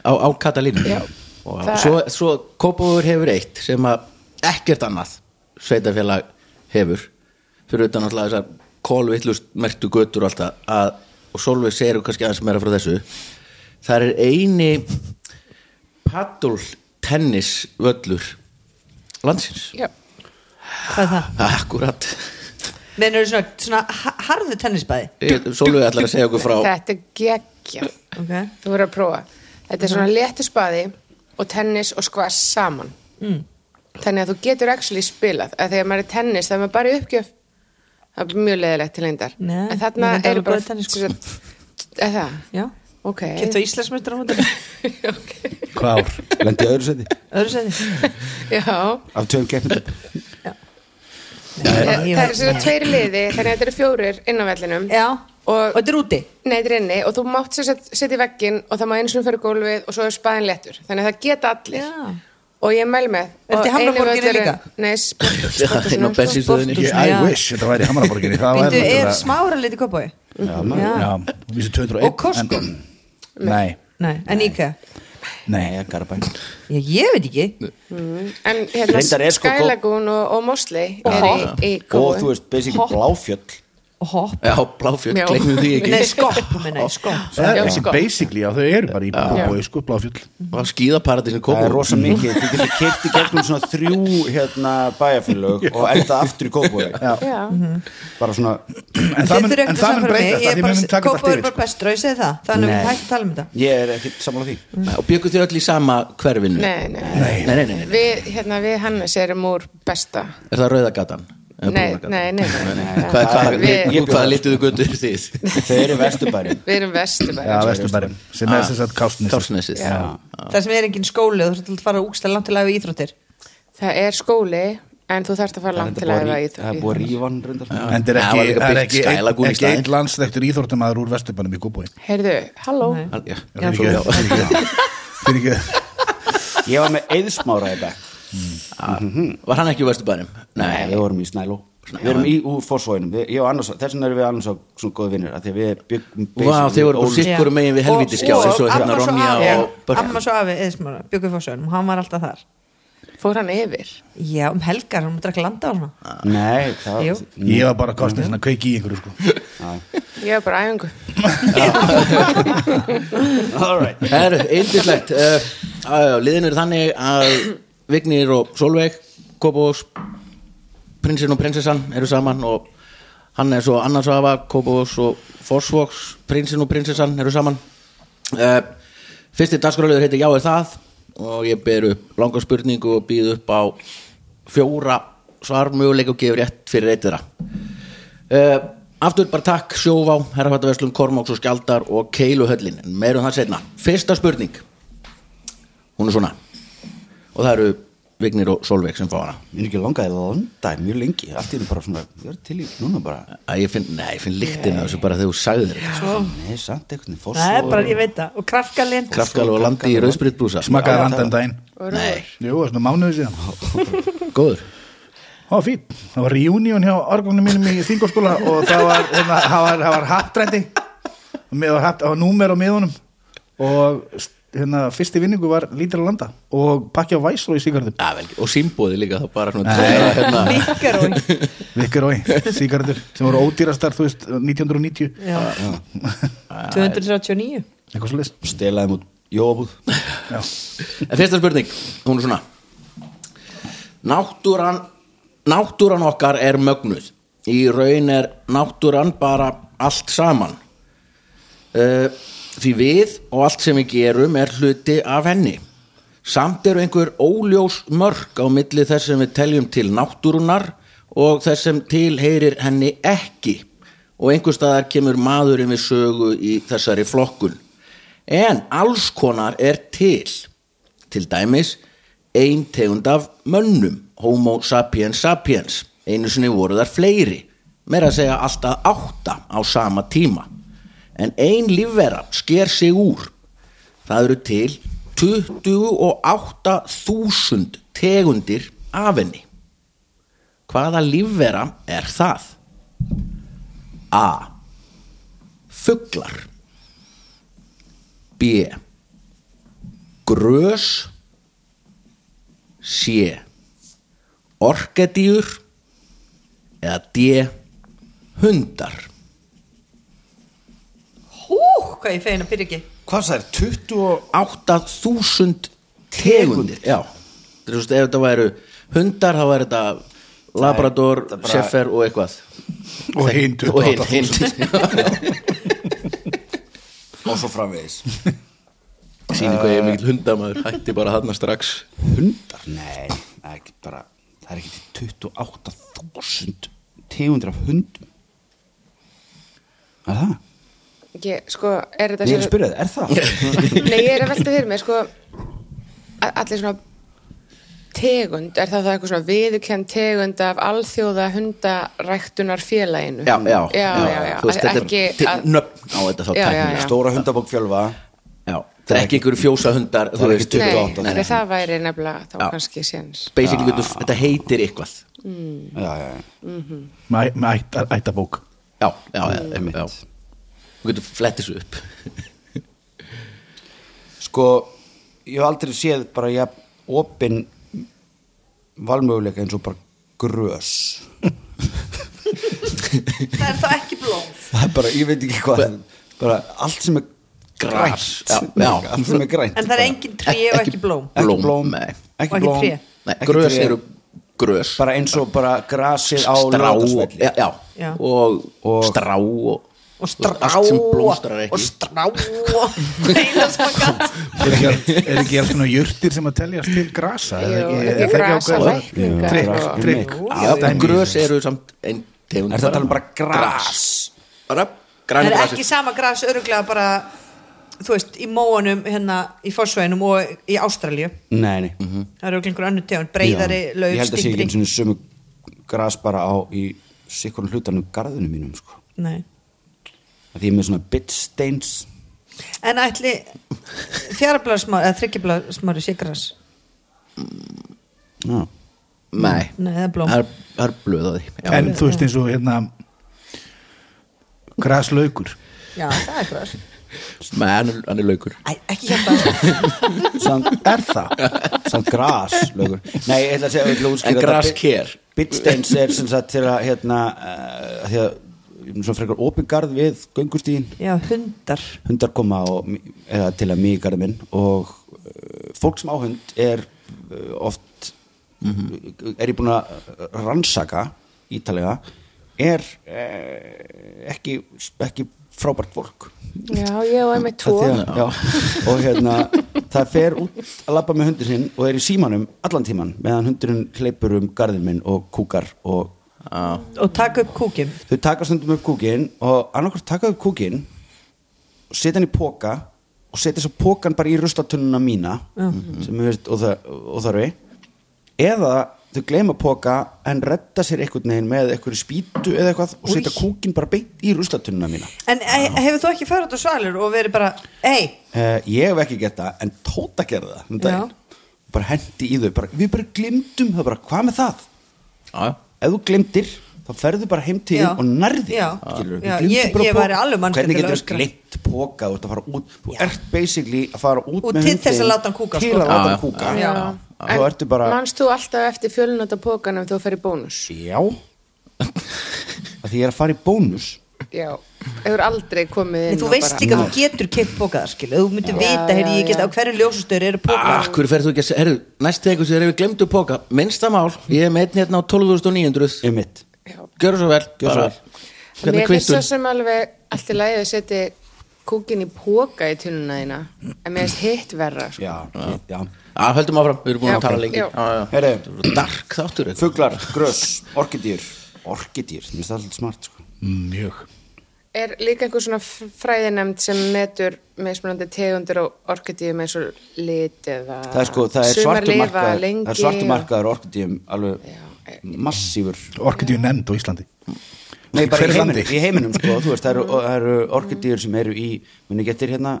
S4: Á, á Katalínu
S8: Já.
S4: Og
S8: Það-
S4: Svo, svo kópavöru hefur eitt Sem að ekkert annað Sveitafélag hefur Fyrir utan alltaf þessar kólvillust Mertu götur og alltaf að, Og Solveig segir kannski aðeins meira frá þessu Það er eini Paddle tennis völlur Landsins
S8: Já,
S6: hvað er það?
S4: Akkurat
S6: Menur þú svona, svona ha- harðu tennisbæði?
S4: Sólveig ætlar að segja okkur frá
S8: Þetta er geggja
S6: Ok,
S8: Þú verður að prófa Þetta er
S6: Mhm.
S8: svona léttisbaði og tennis og squash saman
S6: Mm.
S8: Þannig að þú getur actually spilað að Þegar maður er tennis, þegar maður er bara í uppgjöf Það er mjög leðilegt til eindar
S6: Nei,
S8: En
S6: ég
S8: þarna
S6: reyndi
S8: eru
S6: alveg
S8: bara
S6: góð í tennis, sko.
S8: Er það?
S6: já
S8: Ok
S6: Kjöptu á Íslandsmyndur á hóndinu
S8: Ok.
S5: Hvað ár?
S7: lendi í öðru seti
S6: Öðru sæði
S8: Já
S7: af tveim keppnum
S8: Það eru svona tveir liði, þannig að þetta eru fjórir inn á vellinum
S6: Já, og
S8: og
S6: þetta er úti
S8: Nei, þetta er inni og þú mátt sér setja í veggin og það má eins og fyrir gólfið og svo er spaðin léttur þannig að það geta allir
S6: Já.
S8: og ég mel með
S6: Er þetta í
S8: Og eini
S6: Hamraborginni
S8: völlurinn-
S6: líka?
S8: Nei, sport,
S4: Já, inn á
S8: sport, sport,
S4: bensinstöðinni
S5: Ég, I wish, þetta væri í Hamaraborginni Það væri
S6: Vindu, er
S5: náttúrulega-
S6: smára liti kópói?
S5: Já, vísu 201
S6: Og Costco?
S5: en- Nei,
S6: Nei, en íka
S5: nei
S7: eða Garabæn
S6: Ég, ég veit ekki
S8: en hérna
S7: Reyndar er sko gó-
S8: Skylagoon og, og Mosley er í, í
S7: og
S8: góðu
S7: þú veist, basic bláfjöll
S6: Og hopp
S4: Já, bláfjöld,
S8: Já.
S4: gleymum því
S6: Nei,
S4: ekki
S6: skopp, menna ég, skopp
S5: Það
S8: Já,
S5: er ekki
S8: sko.
S5: Eh, basically, já, þau eru bara í bói, sko, bláfjöld
S4: Og skíðaparadísin
S7: það
S4: komum
S7: er rosa mikið, þú getur keirt í gegnum svona þrjú hérna bæjarfélög og elda aftur í kópói
S8: Já,
S6: Mhm.
S7: bara svona,
S5: En það mun, en það mun breytast af því mun taka sko. þetta
S6: Kópói er
S5: allt
S6: bara
S5: yfir
S6: bestur, ég segi það Þannig
S7: Nei.
S6: að hægt að tala um þetta
S7: ég er ekki samanlega því
S4: Og byggu þau öll í sama hverfinu
S8: nei, nei, nei.
S4: nei, nei, nei, nei.
S8: Við, hérna, við Hannes erum úr besta
S4: Er það rauðagatan? Eða
S8: Nei,
S4: brúnagatan?
S8: nei, nei, nei, nei.
S4: Hvað, hvað,
S8: Við-
S4: við, hvað lituðu göttur þið?
S7: þau eru vesturbæri
S8: Við erum vestu
S5: Já, vesturbærin, sem
S4: Ah.
S5: er þess að kástnis
S4: Kársnesið
S8: Já.
S6: Það sem er engin skóli og þú þurft að fara úkslega langt til að hafa íþróttir
S8: Það er skóli en þú þarft að fara langt til að æfa í
S7: það er búið að rífa hann reyndar
S4: Já.
S5: En það er
S4: Það var
S5: ekki,
S4: líka
S5: það er
S4: byggt
S5: ekki,
S4: skælagún í
S5: ekki
S4: staðinn.
S5: einn landsleiktur íþórtamaður úr vesturbænum í Kópói
S8: Heyrðu, halló
S4: Já,
S5: Já,
S4: svo- já.
S5: fyrir ekki
S7: ég var með eðsmára í bekk
S8: Mhm.
S4: Var hann ekki úr vesturbænum?
S7: Nei, við vorum í Snæló Við erum í úr fórsvóinum, við, ég og Annars þess vegna erum við Annars á svona góði vinnir að því að við byggum
S4: Vá, þið voru bara
S6: Já.
S4: sikkur megin við helvítiskjá
S6: Og-
S4: eins og hérna
S6: amma svo
S4: Ronja
S6: afi-
S4: og Börn
S6: Amma svo afi, eða smára, bjökuð fórsöðunum Hann var alltaf þar
S8: Fór hann yfir?
S6: Já, um helgar, hann drakk landa á svona
S7: Nei, það
S6: Jú.
S4: Mm.
S5: Ég var bara kástnis að kveiki í einhverju, sko
S8: Ég var bara á æfingu
S7: All right.
S4: Herru, eindislegt uh, uh, Liðin eru þannig að Vignir og Solveig Kópós, prinsinn og prinsessan eru saman og hann er svo annarsvafa, Kópós og Forsvoks, prinsinn og prinsessan eru saman uh, Fyrsti dagskrálaugur heitir Já er það og ég ber upp langa spurningu og býð upp á fjóra svarmöguleik og gefur rétt fyrir eitt þeirra uh, Aftur bara takk sjóvá, herrafattaverslun, kormáks og skjaldar og keiluhöllin, en meirum það setna Fyrsta spurning Hún er svona Og það eru Vignir og Solveig sem fá hana
S7: Mér er ekki langaði landa mjög lengi Allt í henni bara svona, ég er til í núna bara
S4: að ég finn, Nei, ég finn líktina af þessu bara þegar þú sagðir þetta
S7: Nei, samt einhvern veginn
S6: Það er
S7: fórsvóður
S6: bara, ég veit það, og krafkalinn
S4: Kraftkal og landi í rauðspritbrúsa
S5: Smakkaði landan daginn
S4: Nei,
S5: Jú, það var svona mánuði síðan
S4: góður
S5: Það var fín, það var reunion hjá orgunum mínum í þingóskóla og það var, hérna, það var, það var hattrændi og mér var hatt, það var númer á miðunum og hérna, fyrsti vinningu var lítil að landa og pakki á væsró í sigarðum
S4: ja, vel, Og símbóði líka, það bara svona tóna, hérna,
S6: Mikkar og
S5: vikir og ein, sigarður sem voru ódýrastar, þú veist, 1990
S6: Já. 239
S5: eitthvað svo leys
S7: Stelaði mút jóabúð
S4: En fyrsta spurning, hún er svona Náttúran Náttúran okkar er mögnuð Í raun er náttúran bara allt saman uh, Því við og allt sem við gerum er hluti af henni Samt eru einhver óljós mörk á milli þess sem við teljum til náttúrunar og þess sem tilheyrir henni ekki og einhver staðar kemur maðurinn við sögu í þessari flokkun. En alls konar er til, til dæmis ein tegund af mönnum, homo sapiens sapiens, einu sinni voru þar fleiri, meira að segja alltaf átta á sama tíma. En ein lífvera sker sig úr Það eru til 28.000 tegundir af henni. Hvaða lífvera er það? A. Fuglar B. Grös C. Orkadýr eða D. Hundar
S6: Hú, hvað ég fegin að byrja ekki
S7: Hvað það er, 20 og
S4: 8000 tegundir já, þetta er svo ef þetta væru hundar þá væri þetta Labrador,
S7: það er bara-
S4: Sheffer og eitthvað
S5: Og hinn
S4: og hinn,
S5: 28.000.
S4: hinn
S7: og svo framvegis
S4: síni hvað ég er mikill hundamaður hætti bara hann strax
S7: hundar, nei það er ekki bara, það er ekki til 28.000 tegundir af hundum er það?
S8: Ég, sko, er þetta
S7: Nei, ég er að
S8: sem-
S7: spyrja það, er það?
S8: Nei, ég er að velta fyrir mig, sko a- Allir svona tegund, er það það eitthvað svona viðurkenn tegund af alþjóða hundaræktunar félaginu?
S4: já, já,
S8: já, já, já.
S4: Þú veist, þetta er
S8: Ekki
S4: til-
S8: að-
S4: nöfn á þetta þá
S8: Já, já,
S4: tæknilega.
S8: já.
S7: stóra hundabók fjölva
S4: Já, það er ekki einhverju fjósahundar þú
S7: Það er
S4: veist,
S7: ekki
S8: Nei,
S7: 28,
S8: nei,
S7: nei.
S8: það væri nefnilega þá
S4: Já.
S8: kannski séns
S4: basically
S7: Ah.
S4: getur, þetta heitir eitthvað
S7: já, já, já.
S5: Með með ætta- ættabók
S4: já, já, já,
S7: Mm.
S4: einmitt já. þú getur flett þessu upp
S7: sko, ég hef aldrei séð bara ja, opin valmöguleika eins og bara grös
S6: það er þá ekki blóð
S7: það er bara, ég veit ekki hvað bara allt sem er grænt
S4: Já, já.
S7: allt sem er grænt
S6: en það er engin tré og ekki blóm
S7: ekki
S4: blóm,
S7: blóm,
S4: nei.
S6: Og
S7: ekki
S6: ekki
S7: blóm
S6: tré.
S4: Nei,
S7: ekki
S4: grös
S7: tré.
S4: eru grös
S7: bara eins og bara grasið á
S4: strá og,
S7: Laugardalsvelli.
S4: já, já,
S6: Já.
S4: Og,
S7: Og-
S4: strá og,
S6: og strá
S4: allt sem blómstrar
S6: og
S4: ekki
S6: strá Eina sem að gat.
S5: Er ekki allt- er ekki alls svona jurtir sem að teljast til grasa?
S8: Jú,
S5: er
S8: ekki grasa,
S5: ákveðið?
S8: lækningar
S5: Trikk,
S8: og-
S5: trikk
S4: Já, en
S5: dæmi.
S4: grös eru samt ein tegund
S7: er það að tala um bara gras
S4: bara
S6: það
S4: grænu
S6: er
S4: grasi
S6: ekki sama gras öruglega bara þú veist, í móanum hérna í fórsvæðinum og í Ástralíu
S7: nei, nei
S4: Mhm.
S7: mm -hmm.
S6: það eru einhver önnur tegund, breyðari, lauf,
S7: ég held að sé ekki
S6: stimpri
S7: eins og sömu gras bara á í sikkurum hlutanum garðinu mínum sko.
S6: Nei.
S7: að því ég er með svona bitsteins
S6: en ætli fjarablaðsmári eða þryggjablaðsmári sé gras
S7: já,
S4: nei,
S6: Nei, það er blóm.
S4: það er- það er blöð á því já,
S5: En þú veist eins og hérna graslaukur
S6: já, það er gras
S4: Nei, hann er- hann er laukur
S6: Æ, ekki hérna
S7: samt er það samt gras lögur. nei, ég ætla að segja ég ætla að útskýra
S4: En
S7: þetta.
S4: grasker.
S7: bitsteins er sem sagt til að hérna, uh, því að ég er með svona frekar opingarð við göngustíðin
S6: já, hundar
S7: hundar koma og, eða til að mig í garðin minn og uh, fólk sem á hund er uh, oft
S4: Mhm.
S7: er ég búin að rannsaka ítalega er uh, ekki, ekki frábært fólk
S8: Já, ég og einmitt tvo
S7: Af því að, já, og hérna það fer út að labba með hundur sinn og er í símanum allan tíman meðan hundurinn hleypur um garðin minn og kúkar og
S6: og taka upp kúkim
S7: þau taka stundum upp kúkin og annarkvært taka upp kúkin og setja hann í póka og setja svo pókan bara í ruslatununa mína sem er veist óþarfi eða þau gleyma póka en redda sér einhvern veginn með einhverju spýtu eða eitthvað og setja kúkin bara beint í ruslatununa mína
S6: en e, hefur þú ekki farið út á svalur og verið bara ei,
S7: uh, ég hef ekki gert það en Tóta gerði það um daginn.
S6: Já.
S7: bara hendi í þau bara, við bara glimtum það bara, hvað með það?
S4: já, já.
S7: ef þú glimtir þá ferðu bara heim til
S6: Já.
S7: þín og nærði
S6: Já. Já, ég- ég væri alveg mannskættileg
S7: hvernig getur þú
S6: öskra.
S7: glimt póka þú ert að fara út þú ert basically að fara út
S6: Og
S7: með
S6: til þess að
S7: hundinn
S6: láta hann kúka,
S7: til
S6: sko.
S7: að láta
S4: Já,
S7: hann
S4: já.
S7: kúka
S6: Já.
S7: þá ertu bara
S8: Manst þú alltaf eftir fjölunóta pókan ef þú ferð í bónus?
S7: já að því ég er að fara í bónus
S8: Já, hefur aldrei komið inn
S6: en þú
S8: og
S6: veist
S8: bara-
S6: líka að þú getur keitt pókaðar skilu, þú myndir vita,
S8: Já,
S6: heyrðu, ég
S8: já,
S6: get
S8: já.
S6: á hverju ljósustöru eru pókaðar
S4: Akkur Ah, ferð þú ekki að segja, herru, næst þegar sem þeir hefur glemt upp póka, minnsta mál ég er með einn hérna á 12.900
S7: ég mitt
S8: Já.
S4: Gjörðu svo vel, gjörðu svo
S7: Bara.
S4: vel Hvernig
S8: Mér finnst
S4: kvittun
S8: það sem alveg allt í lagi að setja kúkin í póka í tunnuna þína en mér finnst hitt verra sko.
S7: já, já.
S4: Já, höldum áfram, við erum búin
S8: Já,
S4: að tala
S8: ok,
S4: lengi
S8: já.
S4: Já, já.
S7: Heyrðu.
S4: Þetta er Dark þáttur þetta.
S7: fuglar, grös, orkidýr orkidýr, mér finnst það alltaf smart sko.
S5: Mjög
S8: Er líka einhver svona fræðinemnd sem metur mismunandi tegundir og orkidíum eins og lit eða
S7: það er sko, það er
S8: Sumar lifa
S7: svartumarkaður
S8: lengi
S7: það er svartumarkaður orkidýrum
S8: Já,
S7: alveg massífur
S5: Orkidíu nefnd á Íslandi
S7: Nei, bara í
S5: Hver er
S7: heiminum,
S5: landi?
S7: í heiminum sko, þú veist, það eru, það eru orkidýr sem eru í, minni getur hérna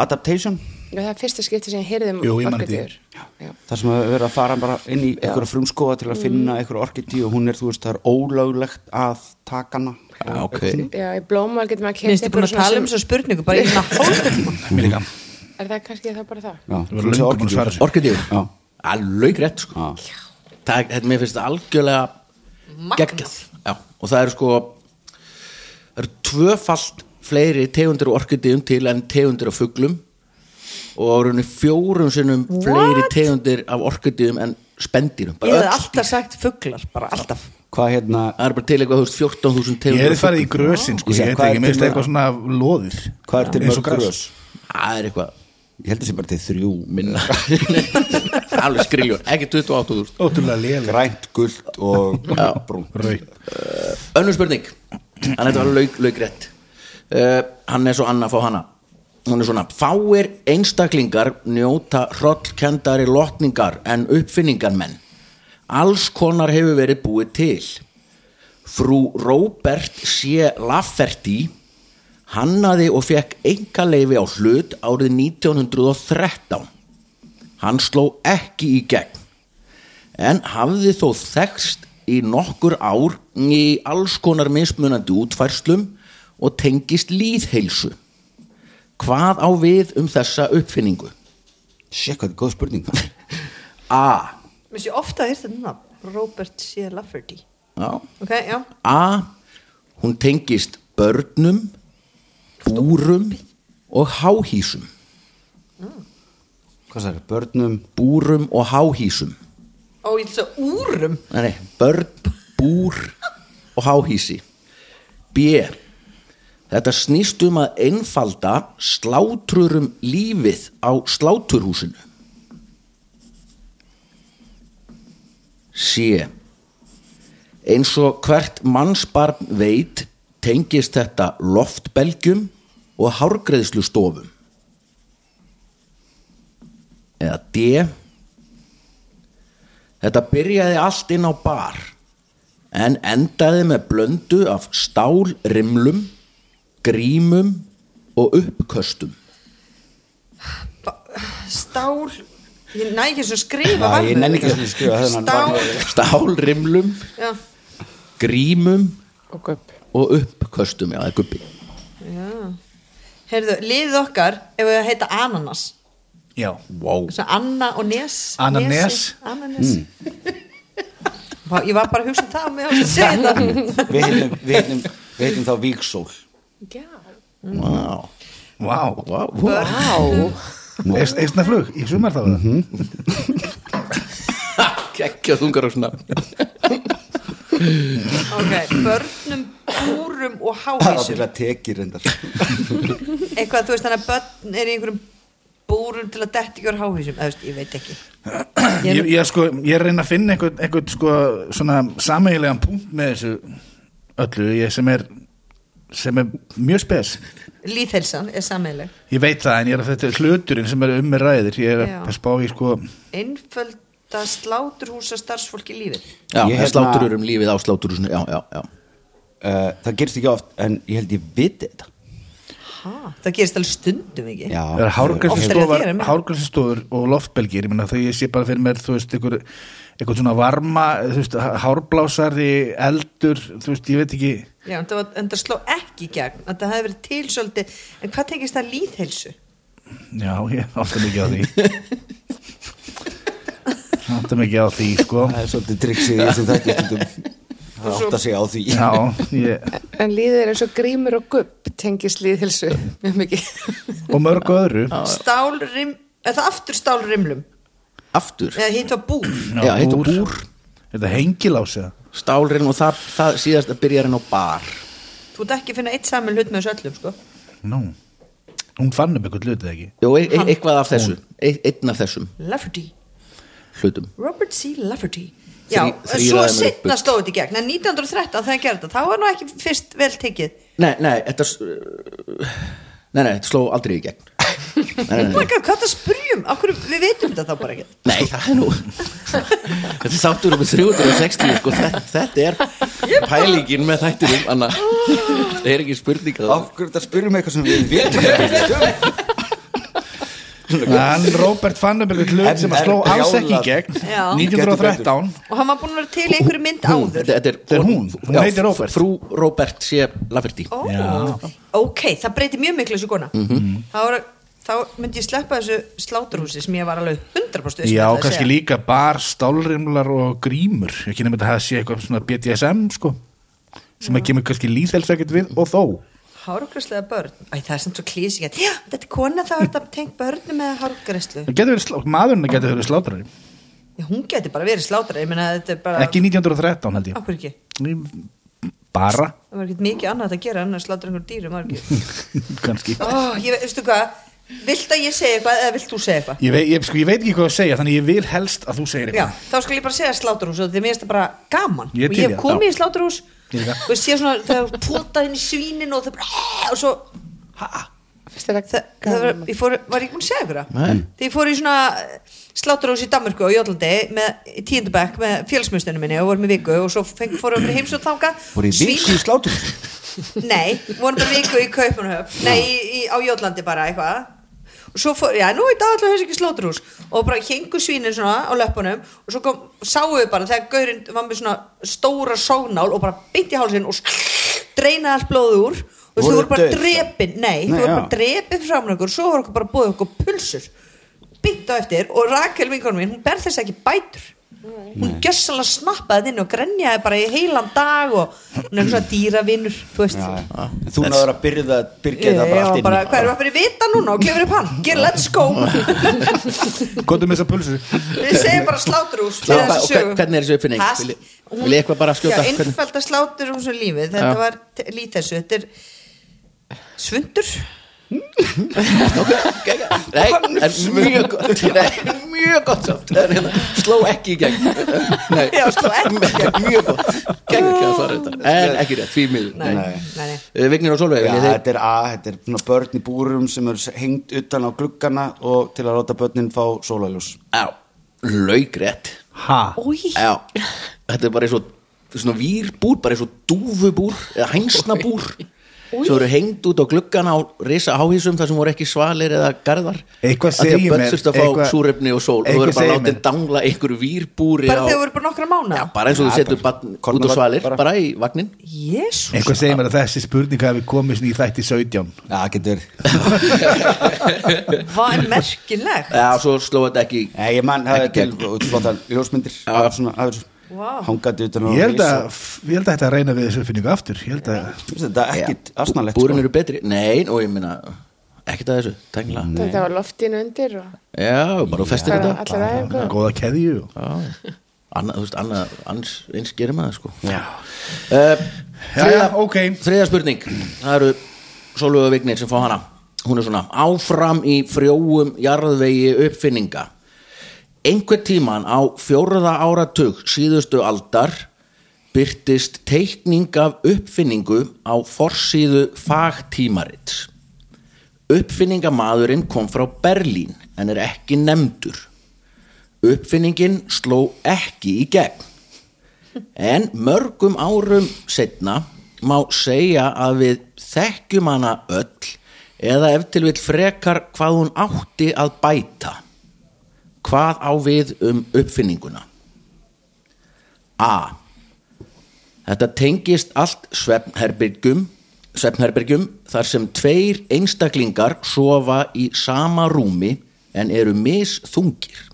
S7: adaptation,
S8: Já, það er fyrsta skipti sem ég heyrði um
S5: Jú, ég man
S8: orkidíur Já.
S7: þar sem að vera að fara bara inn í einhverja frumskóa til að
S8: Mm.
S7: finna einhverja orkidýr og hún er, þú veist, það er ólöglegt að taka hana
S4: Já, ok
S8: Já, í blóma getur maður
S6: Mér
S8: kynst
S6: finnst ég búin að tala um þessu spurningu bara í svona hálfum
S5: Mér líka
S8: Er það kannski það bara það?
S7: Já,
S5: Við erum löngu búin að svara þessu
S4: Orkidýr,
S7: Já.
S4: alveg rétt sko
S7: Já.
S4: Það er, þetta- mér finnst það algjörlega geggjað Já, og það eru sko það eru tvöfalt fleiri tegundir og orkidýum til en tegundir af fuglum og á rauninni fjórum sinnum fleiri tegundir af orkidýum en spendýrum
S6: Ég
S4: bara
S6: hefði
S4: öll
S6: alltaf sagt fuglar, bara alltaf
S7: hvað hérna
S4: það er bara til eitthvað þú veist, 14.000
S5: Ég
S4: tegundir
S5: hefði farið í grösin sko,
S7: Ég segi,
S5: ég
S7: hvað
S5: hefði ekki
S7: er
S5: minnst
S7: til-
S5: eitthvað svona loðir
S7: hvað er til
S5: Eins og
S7: mörg
S5: gras.
S7: grös
S4: það er eitthvað
S7: ég held að sé bara til þrjú
S4: minna alveg skriljón, ekki 28.000
S5: Ótrúlega léleg
S7: grænt, gult og brúnt
S5: Rautt.
S4: önnur spurning hann þetta var lauk, laukrétt uh, hann er svo annað fá hana hún er svona, fáir einstaklingar njóta hrollkendari lotningar en uppfinningarmenn alls konar hefur verið búið til frú Robert C. Lafferty hannaði og fekk einkaleifi á hlut árið 1913 hann sló ekki í gegn en hafði þó þekst í nokkur ár í alls konar mismunandi útfærslum og tengist líðheilsu. Hvað á við um þessa uppfinningu?
S7: sé hvað þetta er góð spurning
S4: A.
S6: Mér sé ofta að þetta núna Robert C. Lafferty
S4: Já.
S6: Ok, já
S4: A. Hún tengist börnum, búrum og háhísum.
S7: hvað það er, börnum
S4: Búrum og háhísum.
S6: Ó, ég held svo úrum
S4: Nei, nei, börn, búr og háhísi B Þetta snýst um að einfalda slátrurum lífið á sláturhúsinu C Eins og hvert mannsbarn veit tengist þetta loftbelgjum og hárgreðslustofum eða D Þetta byrjaði allt inn á bar en endaði með blöndu af stálrimlum, grímum og uppköstum.
S6: Stál Ég næ ekki svo að skrifa
S7: Nei, ég
S6: varlega.
S7: nenni ekki einu sinni að skrifa, það er hann
S6: Stál
S4: Stálrimlum,
S6: Já,
S4: grímum
S8: og gupp
S4: og uppköstum, já, það er guppi.
S6: já Heyrðu, liðið okkar ef við að heita ananas
S5: Já
S4: Wow.
S6: Svo Anna og Nes
S5: Ananes.
S6: Nesi,
S7: Hmm.
S6: Ananes Vá, Ég var bara að hugsa um það og mér varst að segja þetta
S7: við heitum, við heitum, við heitum þá víksól
S8: já,
S4: Wow.
S5: Vá
S4: Wow. wow.
S8: á
S5: Eistna flug í sumar þá mm -hmm.
S4: Kekja þungar og svona.
S6: Ok, börnum, búrum og
S7: það er
S6: hávísum
S7: ábyggilega tekið reyndar
S6: eitthvað, þú veist þannig að börn er í einhverjum búrum til að detti ekki úr háhísum, eða þú veist, ég veit ekki
S5: ég, ég, sko, ég er að reyna að finna einhvern, einhvern sko, svona sameigilegan punkt með þessu öllu ég sem er sem er mjög spes
S6: líðhelsan er sammeðleg
S5: ég veit það en ég er að þetta er hluturinn sem er um með ræðir ég er
S6: Já.
S5: að spá í sko
S6: einfölda sláturhúsa starfsfólki lífið
S4: Já, það er
S7: Ég hérna-
S4: slátururum lífið á sláturhúsinu, já, já, já.
S7: uh, það gerist ekki oft en ég held ég viti þetta
S6: ha, það gerist alveg stundum ekki
S7: Já,
S5: það er
S6: Oftar en þér,
S5: hárgrænsistofar
S6: en mér.
S5: hárgrænsistofur og loftbelgir ég meina þegar ég sé bara fyrir mér þú veist einhver, einhvern svona varma þú veist, hárblásari, eldur þú veist, ég veit ekki
S6: Já, en, það var, en það sló ekki í gegn að það hefði verið til svolítið en hvað tengist það líðhelsu?
S5: já, ég átta mikið á því átta mikið á því sko
S7: það er svolítið triksið í þessum þætti stundum það átt að segja á því
S5: já, ég,
S8: en líðið er eins og grímur og gupp tengist líðhilsu mjög mikið
S5: og mörgu öðru
S6: stálrim, er það aftur stálrimlum
S4: Aftur,
S6: eða hitt var búr
S4: já, heitt og búr,
S5: er þetta hengilás eða?
S4: stálrin og það, það síðast að byrja hérna á bar.
S6: þú ert ekki að finna eitt saman hlut með þessu öllum sko.
S5: nú, hún fann um eitthvað hlutið ekki
S4: Jó, e e eitthvað af þessu, e einn af þessum
S6: Lafferty,
S4: hlutum.
S6: Robert C. Lafferty Já,
S4: Þrí- þrír
S6: svo
S4: aðeim eru
S6: sittna
S4: bull.
S6: stóðu þetta í gegn en 1913 þegar hann gerði þetta, þá var nú ekki fyrst vel tekið
S4: Nei, nei, þetta s- Nei, nei, þetta sló aldrei í gegn Nei, nei,
S6: Oh
S4: nei,
S6: my God, hvað það spyrjum? Akkur, um? við veitum þetta þá bara ekki
S4: nei það er nú Þetta er þáttur um 360 sko, þetta, þetta er pælingin með þættinum Anna Það er ekki spurning að
S7: af hverju þetta spyrir mig um eitthvað sem við vitum ekki.
S5: hann Robert fann um eitthvað
S7: En
S5: hlut sem að
S7: er
S5: sló alls ekki í
S7: brjálað.
S5: gegn
S6: Já.
S5: 1913
S6: og hann var búin að vera til í einhverju mynd
S4: Hún,
S6: áður
S4: þetta, þetta er,
S5: Þetta er hún, hún
S4: já,
S5: heitir Róbert.
S4: Frú Róbert sé Lafferty
S6: Ó,
S5: Já.
S6: Oh. ok, það breytir mjög miklu þessu kona
S4: Mhm.
S6: þá, var- þá myndi ég sleppa þessu sláturhúsi sem ég var alveg 100% viss um
S5: Já,
S6: að það
S5: kannski
S6: segja.
S5: líka bar, stálrimlar og grímur ekki nefnir að það sé eitthvað svona BDSM sko, sem að kemur kannski líðhelsa ekkert við og þó
S6: hárgræslega börn, Æ, það er samt svo klísi já, þetta er kona þá er þetta tengt börnum með hárgræslu
S5: Það getur verið slá- maðurinn getur verið slátrari
S6: Já, hún geti bara verið slátra, ég meina þetta er bara
S5: ekki 1913 held ég
S6: Akkur ekki,
S5: bara,
S6: það var ekkert mikið annað að gera annars slátra einhver dýrum var ekki
S5: kannski
S6: Ó, ég veit, veistu hvað Vilt að ég segja eitthvað eða vilt þú segja eitthvað?
S5: ég veit, ég, sko, ég veit ekki hvað að segja þannig ég vil helst að þú segir
S6: Já,
S5: eitthvað
S6: þá skal ég bara segja sláturhús og því mér finnst það bara gaman
S5: Ég er
S6: og ég
S5: til í
S6: hef
S5: það,
S6: komið
S5: já.
S6: í sláturhús
S5: Ég líka.
S6: og sé svona þegar pútað inn í svínin og það bara "Ah", og svo
S8: Fyrst er
S6: það, það var, ég fór, var ég búin að segja ykkur það þegar ég fór í svona sláturhús í Danmarku og Jólandi með í tíundabæk með fjölsmjöstunum minni og vorum í viku og svo feng, fórum við heimsótt þanga
S7: voru í viku í slátur
S6: Nei, vorum bara viku í Kaupanhöfn Nei, í, í, á Jótlandi bara eitthvað og svo fór, já, nú í dag allavega hefur ekki slóturhús og bara hengu svínin svona á löppunum og svo kom, sáu við bara þegar gaurinn var með svona stóra sógnál og bara bynt í hálsinn og sk- dreinaði allt blóðu úr og þú
S7: Voru
S6: voru bara
S7: dauð?
S6: drepin nei,
S7: Nei,
S6: þú voru
S7: já.
S6: bara drepin framar okkur svo voru okkur bara búið okkur pulsur bynt á eftir og Rakel vinkonum mín hún ber þess ekki bætur hún gjössalega snappaði þetta inn og grenjaði bara í heilan dag og hún er eitthvað svona dýravinnur þú veist
S7: En þú náður að byrja það byrja
S6: Ég
S7: það bara allt
S6: var
S7: inn
S6: bara, hvað erum við að fyrir vita núna og klefur upp hann, get let's go
S5: gotum þess að pulsu
S6: við segjum bara sláturhús
S4: Já, og hver- hvernig er þessi uppfinning? Vil- vil ég eitthvað bara skjóta?
S6: Já,
S4: Hvernig-
S6: innfælda sláturhús og lífið, þetta
S4: Já.
S6: var t- lít þessu, þetta er svundur
S4: Nei, en mjög gott nei, Mjög gott samt En hérna, Sló ekki í gegn Nei,
S6: Já, sló ekki í gegn.
S4: Mjög gott Gegn ekki að svara þetta En ekki rétt, því miður
S6: Nei, nei, nei.
S4: Eh, Vignir og Solveig
S7: Já,
S4: viljið þið-
S7: þetta er A, þetta er svona börn í búrum sem eru hengt utan á gluggana og til að láta börnin fá sólaljós
S4: Já, laugrétt
S5: ha,
S6: Új,
S4: Já, þetta er bara eins og svona výrbúr, bara eins og dúfubúr eða hænsnabúr svo eru hengd út á gluggana á risa háhísum þar sem voru ekki svalir eða garðar
S5: Eitthvað
S4: Af því að
S5: segir
S4: börn
S5: mér-
S4: þurftu að fá
S5: eitthvað-
S4: súrefni og sól og þú
S5: eitthvað
S4: eru bara
S5: segir
S4: látið
S5: mér.
S4: dangla í einhverju výrbúri
S6: bara
S4: á-
S6: þegar voru bara nokkra mánu
S4: Já, bara eins og þú setur barn út á
S7: kornabarn
S4: svalir
S7: bara.
S4: bara. í vagnin
S6: Jésús
S5: eitthvað segir mér að þessi spurning hafi komið svona í þætti 17
S7: Já, getur
S6: Hvað er merkilegt
S4: Já, svo sló þetta ekki í-
S7: Nei, ég mann, það er
S4: Ekki
S7: til og flotta ljósmyndir af svona, af þessu
S6: Vá.
S7: hangandi utan á
S5: ég held að,
S7: risa.
S5: ég held að þetta reyna við þessu uppfinningu aftur ég held að
S7: Finnst Þetta er ekkit asnalegt sko.
S4: Búrin
S5: sko.
S4: eru betri, nei, og ég meina ekkert að þessu, tengla
S8: Þetta var loftinu undir og
S4: Já, bara þú festir
S8: bara
S4: þetta
S8: allar aðeins sko.
S5: góða keðju og-
S4: Anna, þú veist, annað, ans, eins gerir maður sko
S7: Já.
S4: uh,
S5: Jæja, ok.
S4: Þriðja spurning Það eru Sólögu Vignir sem fá hana Hún er svona áfram í frjóum jarðvegi uppfinninga Einhver tíman á fjórða áratug síðustu aldar byrtist teikning af uppfinningu á forsíðu fagtímarits Uppfinningamaðurinn kom frá Berlín en er ekki nefndur Uppfinningin sló ekki í gegn. En mörgum árum setna má segja að við þekkjum hana öll eða ef til vill frekar hvað hún átti að bæta. Hvað á við um uppfinninguna? A. Þetta tengist allt svefnherbergjum, svefnherbergjum þar sem tveir einstaklingar sofa í sama rúmi en eru misþungir.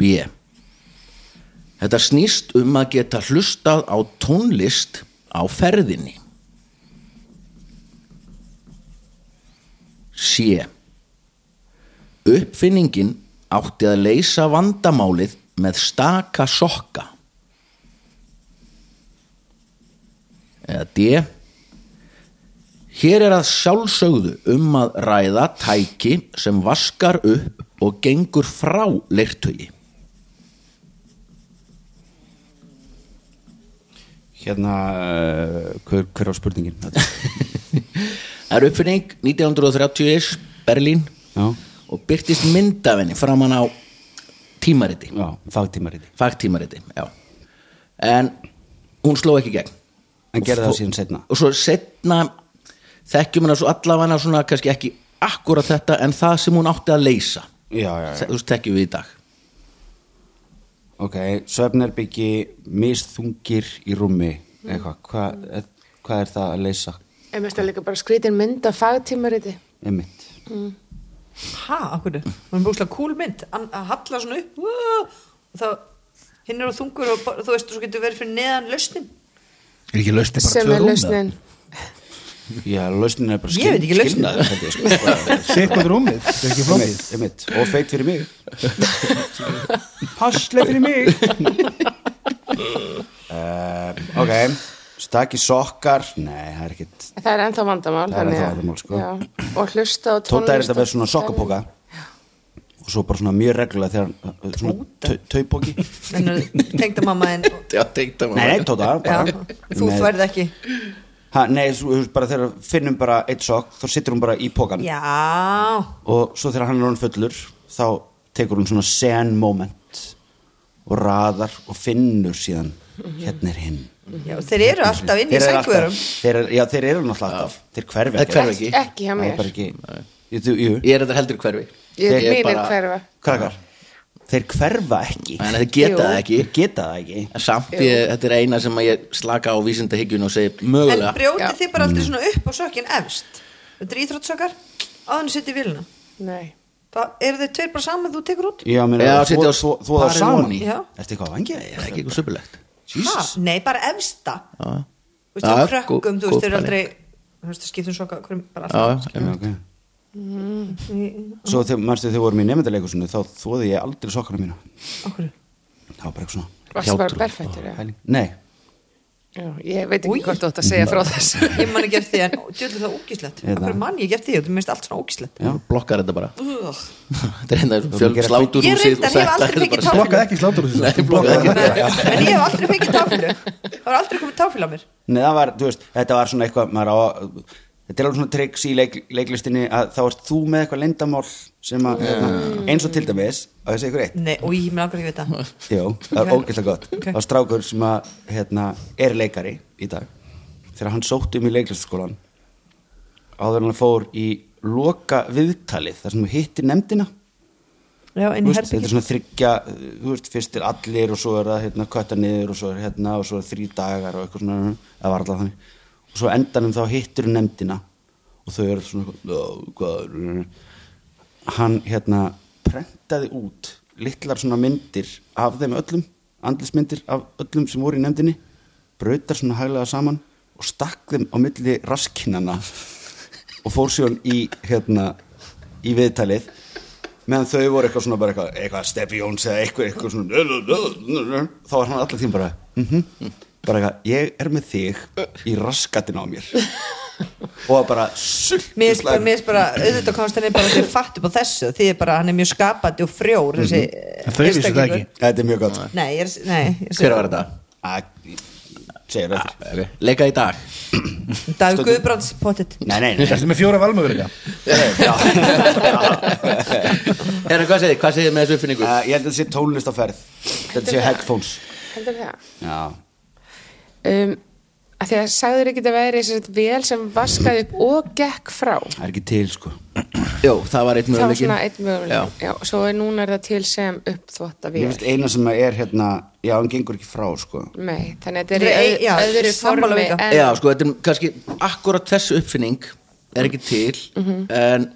S4: B. Þetta snýst um að geta hlustað á tónlist á ferðinni. C. Uppfinningin átti að leysa vandamálið með staka sokka. Eða D. Hér er að sjálfsögðu um að ræða tæki sem vaskar upp og gengur frá leirtögi.
S7: Hérna, uh, hver, hver á spurningin? Þetta er-
S4: Það er uppfinning 1930 Berlín
S7: Já,
S4: og byrtist myndafinni framann á tímariti,
S7: já, fagtímariti
S4: fagtímariti já. en hún sló ekki í gegn
S7: En
S4: Og-
S7: gerði það síðan setna
S4: og svo setna þekkjum hana svo allavega svona kannski ekki akkurat þetta en það sem hún átti að leysa
S7: Já, já, já
S4: Þe- þú veist þekkjum við í dag
S7: Ok, svefnerbyggi, misþungir í rúmi Eitthvað, hvað hva er það að leysa?
S8: En mér stæði líka bara skrítin mynd af fagtímariti
S7: Einmitt
S6: Hæ, okkur, hún er búkslega cool mynd Hann- að halla svona upp uh, og þá hinn er á þungur og bara- þú veist, svo getur verið fyrir neðan lausnin
S5: er ekki lausni bara
S8: sem
S5: tvö
S8: er
S5: rúm eða?
S8: lausnin
S7: Já, lausnin er bara
S6: Ég veit ekki lausnina.
S7: skilnaður, held ég, sko.
S5: Sirkvað rúmið, þetta er ekki flókið
S7: Einmitt, einmitt. og feit fyrir mig Passleif fyrir mig uh, Ok Stakki sokkar Nei, það er ekkit
S8: En Það er ennþá vandamál,
S7: Það er
S8: þannig
S7: ennþá
S8: að-
S7: vandamál, sko.
S8: já, og hlusta á tónlist
S7: Tóta er þetta
S8: og-
S7: með svona sokkapóka og svo bara svona mjög reglulega þegar hann- svona taupóki Nei,
S6: tengda mamma en
S4: Já, tengda
S7: nei, Tóta bara.
S6: þú
S7: Með-
S6: þværð ekki
S7: Ha, Nei, þú veist bara þegar finnum bara eitt sokk þá situr hún bara í pókan
S6: já,
S7: og svo þegar hann er hann fullur þá tekur hún svona sen moment og raðar og finnur síðan hérna er hinn
S6: já þeir eru alltaf inn í
S7: eru
S6: sækverum
S7: alltaf, þeir, eru- já, þeir eru náttúrulega alltaf þeir hverfi
S4: Þeir hverfa ekki.
S8: Ekki hjá
S7: Það er
S8: mér.
S7: bara ekki Jú, þú- jú,
S4: Ég er þetta heldur hverfi
S8: Ég er mínir
S4: bara-
S8: hverfa
S7: krakkar þeir hverfa ekki
S4: En þetta geta
S8: Jú.
S4: það ekki
S7: þeir geta það ekki
S4: En samt, ég, þetta er eina sem að ég slaka á vísindahyggjun og segi
S6: en
S4: mögulega
S6: brjótið
S8: Já.
S6: þið bara
S7: Mm.
S6: aldrei svona upp á sokkin efst þetta er íþróttsokar áðan að setja í vilna
S8: Nei,
S6: eru þeir tveir bara saman þú tekur út
S7: Já, meina,
S4: Já,
S7: þú,
S4: setja á
S7: þú, þú það
S4: parið
S7: saman
S4: ofan
S7: í
S4: í.
S6: Já.
S7: Ertu eitthvað að vangja?
S4: Það er ekki eitthvað söpulegt
S6: ha, nei bara efsta
S4: Já,
S6: þú veist það
S4: Já, gó-
S6: krökkum þú
S4: góð
S6: veist þeir eru aldrei
S4: pæling.
S6: þú veist það skiptum soka hverjum bara
S4: já,
S6: alltaf
S4: já einmitt.
S7: Okay.
S8: Mm.
S7: Svo þegar, manstu, þegar við vorum í nefndaleikursinu þá þóði ég aldrei sokkana mína
S6: okkur
S7: það var bara eitthvað svona
S8: varstu bara
S2: Hjátrú.
S8: berfættur já.
S7: pæling Nei,
S8: Já, Ég veit
S6: Új.
S8: ekki hvort þú ætti að segja frá þessu
S6: ég man ekki eftir því en djöðlu það ógíslegt
S7: Eða.
S6: okkur mann ég ekki eftir því þetta minnst allt svona ógíslegt
S7: Já.
S4: Blokkar þetta bara
S6: Ugh.
S4: Þetta er hérna svona
S7: Ég
S4: fjöld
S7: reyndar-
S6: ég
S4: sláturhúsið
S6: reyndar hef aldrei fengið
S4: hérna.
S6: táfýlu
S5: Blokkað ekki slátur þessu
S4: Nei, blokkað ekki.
S6: en ég hef aldrei fengið táfýlu það var aldrei komið táfýlu á mér
S7: Nei, það var, þú veist, þetta var svona eitthvað maður á, þetta er alveg svona triks í leik, leiklistinni að þá erst þú með eitthvað lendamál sem að, hérna, eins og til dæmis að þessi eitthvað eitt,
S6: nei og ég mér langar ekki vita það
S7: jú, það er
S6: Ok.
S7: ógeðslega gott
S6: Ok.
S7: það var strákur sem að, hérna, er leikari í dag, þegar hann sótti um í leiklistaskólan áður en hann fór í loka viðtalið, þar sem hann hitti nefndina
S6: já en
S7: Þú
S6: ég
S7: veist, þetta er
S6: herbyggir
S7: svona þryggja uh, þú veist, fyrst er allir og svo er það hérna, kvötta niður og svo er hérna og svo er þrý dagar og eitthvað svona, það var alltaf þannig og svo á endanum þá hittir hún nefndina og þau eru svona eitthvað, "Já, hvað er-" hann hérna prentaði út litlar svona myndir af þeim öllum andlismyndir af öllum sem voru í nefndinni brautar svona hæglega saman og stakk þeim á milli raskinnana og fór síðan í hérna, í viðtalið meðan þau voru eitthvað svona bara eitthvað, eitthvað Steffi Jóns eða eitthvað, eitthvað svona þá var hann allar tíma bara mm bara eitthvað, ég er með þig í raskatina á mér og bara
S6: Mér finnst bara, mér finnst bara, auðvitað komst henni bara þau fatt upp á þessu því er bara, hann er mjög skapandi og frjór þessi eh,
S5: En þau vissu það
S6: einstaklingur.
S5: ekki
S7: þetta er mjög gott
S6: Nei, ég er, nei, ég er
S4: Hver var þetta?
S7: að, Ah, segir þetta
S4: Okay. Leika í dag
S6: Davíð Guðbrands pottit
S7: nei, nei, nei,
S5: Þetta er með fjóra valmöðurika
S4: Hérna, hvað segir þið? Hvað segir þið með þessu uppfinningu?
S7: uh, ég held að þetta sé tónlist á ferð þetta sé headphones
S8: Heldur það
S7: já,
S8: um, að Því að sagður ekki að væri þessi vél sem vaskaði upp og gekk frá
S7: það er ekki til sko
S4: Jó, það var eitt
S8: Það var
S4: möguleikin
S8: svona eitt möguleik Já, svo er núna er það til sem uppþvotta
S7: ég
S8: vél
S7: finnst eina sem að er hérna já, hann gengur ekki frá sko
S8: Nei, þannig að þetta er
S6: Nei,
S8: í öð-
S6: já,
S8: öðru
S6: sammála
S8: formi
S6: Vika.
S8: en
S4: Já, sko, þetta er kannski akkurat þessu uppfinning er ekki til
S6: Mhm.
S4: en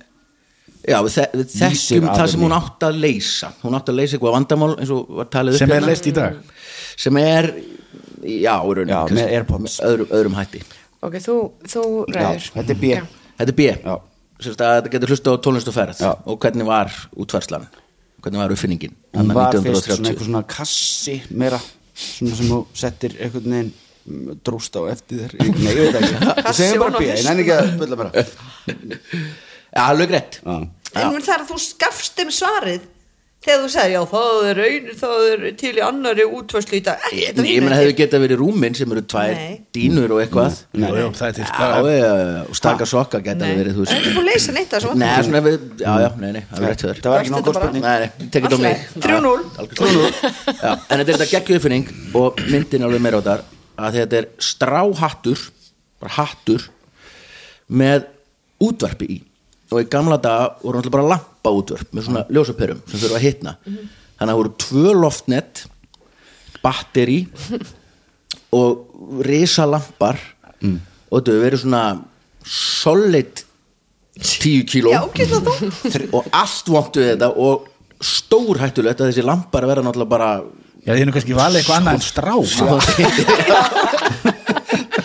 S4: já, við, þe við
S7: Lýsir
S4: þekkjum það sem
S7: aðeins.
S4: hún átt að leysa hún átt að leysa eitthvað vandamál eins og var talið upp
S5: Sem er
S4: hérna.
S5: leyst í dag.
S4: sem er, já, í rauninni,
S7: Já,
S4: kannski,
S7: með AirPods.
S4: öðrum, öðrum hætti
S8: Ok, þú, þú ræður
S7: já, þetta er B
S8: Já.
S4: Þetta er B
S7: Já.
S4: Sem sagt að þetta getur hlusta á tónlist og ferð
S7: Já.
S4: og hvernig var útverslan hvernig var uppfinningin
S7: hún
S4: þarna
S7: var fyrst
S4: 1930?
S7: svona eitthvað svona kassi meira svona sem þú settir einhvern veginn mm, drúst á eftir þér Ég- nei, ég veit ekki, þú
S6: Kassi
S7: segir
S6: ofan á
S7: bara bíða, ég nenni ekki að byrja bara
S4: Já, alveg rétt
S7: Já.
S6: En mér þar að þú skafst um svarið þegar þú sagði, já, það er einu það er til í annari útvörslu í dag
S4: Ég,
S6: Ekkert
S4: ég
S6: að vinna
S4: meina
S6: eftir.
S4: hefði getað verið rúmin sem eru tvær
S6: Nei.
S4: dínur og eitthvað
S5: Jú, jú, það er til
S4: Já, já, já, og stakka sokka geta
S6: Nei.
S4: verið þú
S6: En ertu búin að leysa neitt af þessu
S4: Nei, sko.
S6: vandamál?
S4: svona við, já, já, nei, nei, það er rétt höður
S7: það var ekki
S6: Varstu
S7: nokkuð
S6: þetta bara?
S7: spurning
S4: Nei, nei, tekið á mig
S6: Allt í lagi. 3-0.
S4: Já, algjört 3-0 Já, En þetta er þetta geggjöfinning og myndin alveg meira á þar að þetta er stráhattur bara hattur með útvarpi í og í gamla daga voru náttúrulega bara lampa útvarp með svona ljósaperum sem þurfa að hitna þannig að voru tvö loftnett batteri og risalampar og þetta hefur verið svona solid 10 kíló
S6: Já, ógeðslega þungt.
S4: Þri- og allt vondu við þetta og stór hættulegt að þessi lampar verða náttúrulega bara
S5: Sko. Já, þið erum kannski valið eitthvað annað en strá
S4: Já.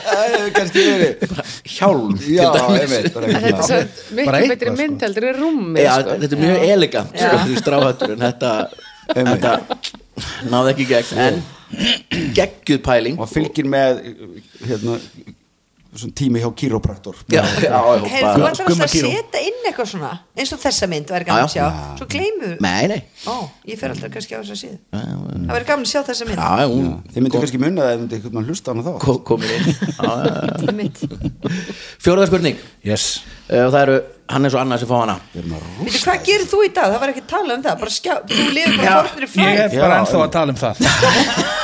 S7: það hefur kannski verið
S4: hjálm
S7: Já,
S4: til dæmis.
S7: einmitt bara
S8: En þetta er
S7: eitthvað.
S8: samt miklu
S4: Bara eitthvað,
S8: betri
S4: sko.
S8: mynd heldur en rúmi
S4: Já,
S8: sko.
S4: þetta er mjög elegant sko, þú stráhættur en þetta, þetta náði ekki í gegn en geggjuð pæling
S7: og fylgir með hérna, svona tími hjá kýrópraktor
S4: já, já, já,
S6: Heyrðu, þú
S4: bara,
S6: ætlar alltaf
S5: Gumma
S6: að
S5: Kíró.
S6: setja inn eitthvað svona eins og þessa mynd væri
S4: Já,
S6: gaman að
S4: já.
S6: sjá svo gleymur,
S4: nei, nei
S6: ó, ég fer alltaf kannski á þessa síðu það væri gaman að sjá þessa mynd
S4: já, hún
S7: þið myndu kannski munna það ef þið einhvern mann hlusta á hana þá
S4: kom, komin inn Já, já, já.
S6: mynd
S4: fjórða spurning
S5: yes.
S4: Eh, og það eru Hannes og Anna sem fá hana
S6: Veitu, hvað gerir þú í dag? Það var ekki að tala um það bara skjá, þú lifir bara fornir í
S5: ég
S6: fræð
S5: er bara
S7: Já,
S5: ennþá að tala um það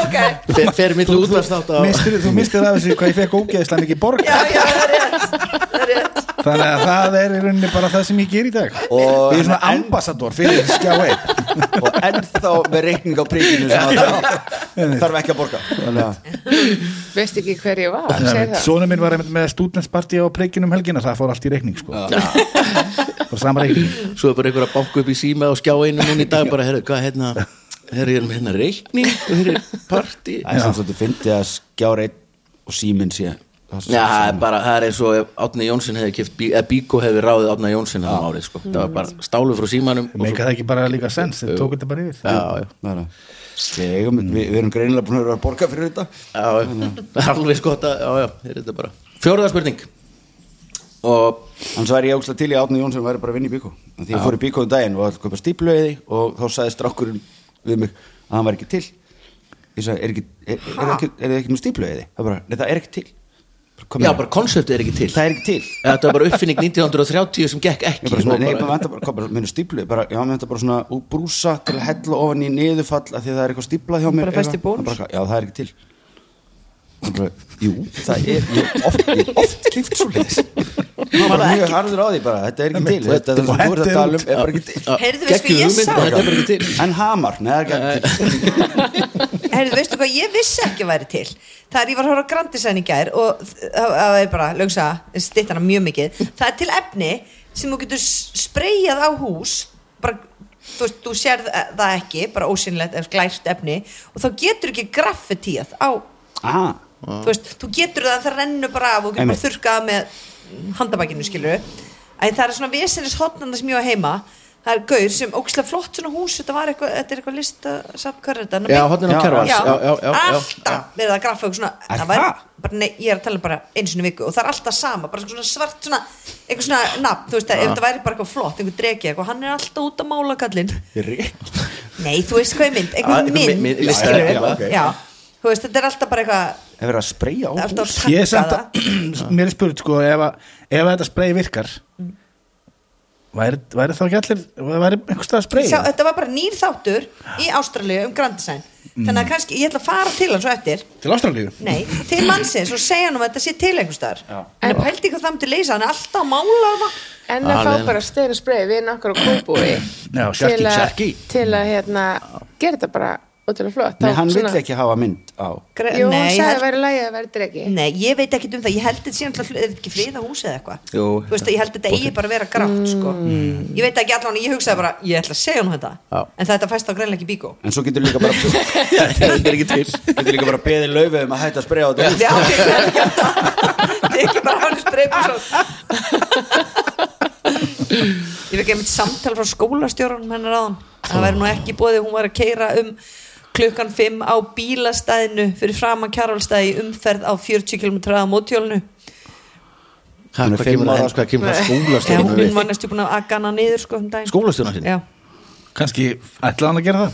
S6: ok,
S4: Fer- fer milli útvarsnátt á
S5: mistir, þú mistir af þessu hvað ég fekk ógeðislega mikið borga
S6: já, já, það er rétt það er rétt
S5: þannig að það er í rauninni bara það sem ég ger í dag
S7: og,
S5: ég er svona ambassador fyrir skjá einn
S7: og ennþá með reikning á príkinu sem það þarf ekki að borga Þannig að-
S8: veist ekki hver ég var segir það.
S5: Sónu minn var einmitt með stúdenspartí á preikinum helgina það fór allt í reikning sko. og sama reikning
S4: svo er bara einhver að banka upp í síma og skjá einu núna í dag bara, herru, hvað hérna herru, ég er með hérna reikning og hér er partí
S7: það er samt svolítið fyndið að skjára einn og síminn sé það
S4: Já, það er bara, það er eins og Átni Jónsson hefði kipt, eða Bíko hefði ráðið Átna Jónsson þannig árið, sko, það var bara stálu frá símanum og
S5: meika það ekki bara líka sens þeir tók þetta bara yfir
S4: já, já,
S7: er við, eigum- við, við erum greinilega búin að vera að borga fyrir þetta
S4: já, já, það er alveg sko þetta, já, já, það er þetta bara Fjóraða spurning og
S7: annars væri ég ógslag til í Átni Jónsson væri bara að vinna í bíkó Af því ég fór í bíkó um daginn og alltaf köpa stípluði og þá sagði strákurinn við mig að hann væri ekki til ég sagði, er, ekki, er, er, ekki, er þið ekki með stípluði það bara, nei það er ekki til bara, "Hvað
S4: já,
S7: meinar?"
S4: bara konseptið er ekki til
S7: það er ekki til
S4: þetta var bara uppfinning 1930 sem gekk
S7: ég
S4: ekki
S7: bara svona,
S4: og
S7: nei, maður vantar bara, hvað bara, minnur stíplu bara, já, maður vantar bara svona úr brúsa til að hella ofan í niðurfall af því að það er eitthvað stíplað hjá mér
S8: Bara fæst í
S7: eitthvað.
S8: bónus.
S7: Það bara, já, það er ekki til Það bara, jú, það er ég hef oft, ég hef oft klift svo leiðis maður bara mjög harður á því bara, þetta er ekki til þetta er það sem þú ert að tala um, er bara ekki til
S6: Heyrðu, veistu,
S4: Geggjuð
S6: ég
S4: hugmynd,
S6: sá-
S4: en þetta er bara ekki til
S7: en hamar, neða, það er ekki til
S6: Herðu, veistu hvað, ég vissi ekki að væri til Það er, ég var að horfa á grandisæn í gær og þ- það það er bara, lögsa, stýtt hana mjög mikið Það er til efni sem þú getur s- spreyjað á hús bara, þú veist, þú sérð eh, það ekki bara ósynlegt, ef glært efni og þá getur ekki graffitíð á
S7: ah,
S6: þú veist, þú getur það, það rennur bara af og þú getur bara
S7: Einmitt.
S6: þurkað með handabakinu skilur en það er svona vesenis hotnanda sem ég á heima það er gaur sem ógislega flott svona hús þetta var eitthvað, þetta er eitthvað listasafn hvað er þetta?
S4: Já, hornin á
S7: Já,
S4: Kjarvals,
S6: já,
S4: já, já, já, já.
S6: alltaf verið að graffa eitthvað svona það var, bara, nei, ég er að tala um bara einu sinni í viku og það er alltaf sama, bara svona svart svona, eitthvað svona nafn, þú veist að ef þetta væri bara eitthvað flott, einhver dregi eitthvað, hann er alltaf út að mála kallinn nei, þú veist hvað ég mynd,
S4: Já,
S6: eitthvað
S4: einhver
S6: mynd,
S4: mynd-
S6: mynd
S4: listaverk,
S6: skilurðu?
S4: já,
S7: ok.
S6: já, þú veist, þetta er alltaf bara eitthvað
S7: er verið að spreyja á
S6: Það
S7: hús
S6: er alltaf að
S5: ég er
S6: taka
S5: samt
S6: það Mm.
S5: að mér er spurt sko ef, að, ef að þetta sprey virkar væri, væri þá ekki allir væri einhvers stað að
S6: Sjá,
S5: spreyja
S6: Þetta var bara nýr þáttur í Ástralíu um Grand Design Þannig
S4: Mm.
S6: að kannski, ég ætla að fara til hans og eftir
S5: til ástralíu
S6: Nei, til mannsins og segja hann um að þetta sé til einhvers staðar En
S8: En-
S6: pældi hvað það myndi leysa, hann er alltaf að mála það
S8: en
S7: Ah,
S8: að fá bara stein og sprey við nokkar á kópúi
S5: Já, Sharky,
S8: til, að-
S5: Sharky.
S8: til að hérna gera þetta bara ótrúlega flott
S7: nei,
S8: Þá
S7: hann
S8: svona-
S7: vill ekki hafa mynd á
S6: Gre-
S8: Jú,
S6: Nei, ég
S8: hann sagði að
S6: held-
S8: vera lægi að vera dregi
S6: Nei, ég veit ekki um það, ég held þetta síðan alltaf, er þetta ekki friða húsi eða eitthvað
S4: Jú. Mm.
S6: Þú veist, ég held þetta eigi bara að vera grátt, sko Ég veit ekki allan, ég hugsaði bara, ég ætla að segja hann þetta
S4: Já.
S6: En þetta fæst á greinlega ekki bíkó
S7: en svo getur líka bara getur
S4: þetta er ekki til
S7: líka bara beðið laufið um að hætta að spreyja á þetta hús.
S6: Já, ok, ég held ekki að það Tekið bara hann streypa svo Ég veit ekki einmitt samtal frá skólastjórunum hennar áðan Það væri nú ekki bóði, hún var að keira um klukkan 5 á bílastæðinu fyrir fram að kjarvalstæði umferð á 40 km að mótjólinu
S4: Ha,
S7: Hún er
S4: hvað
S7: fimm
S4: kemur það
S7: ára.
S4: henn, hvað kemur það
S6: Eða
S4: skólastjónum
S6: hún
S4: við
S6: var næstu búin að aga hana niður sko um daginn
S4: skólastjónum sinni?
S6: Já,
S5: kannski ætla hann að gera það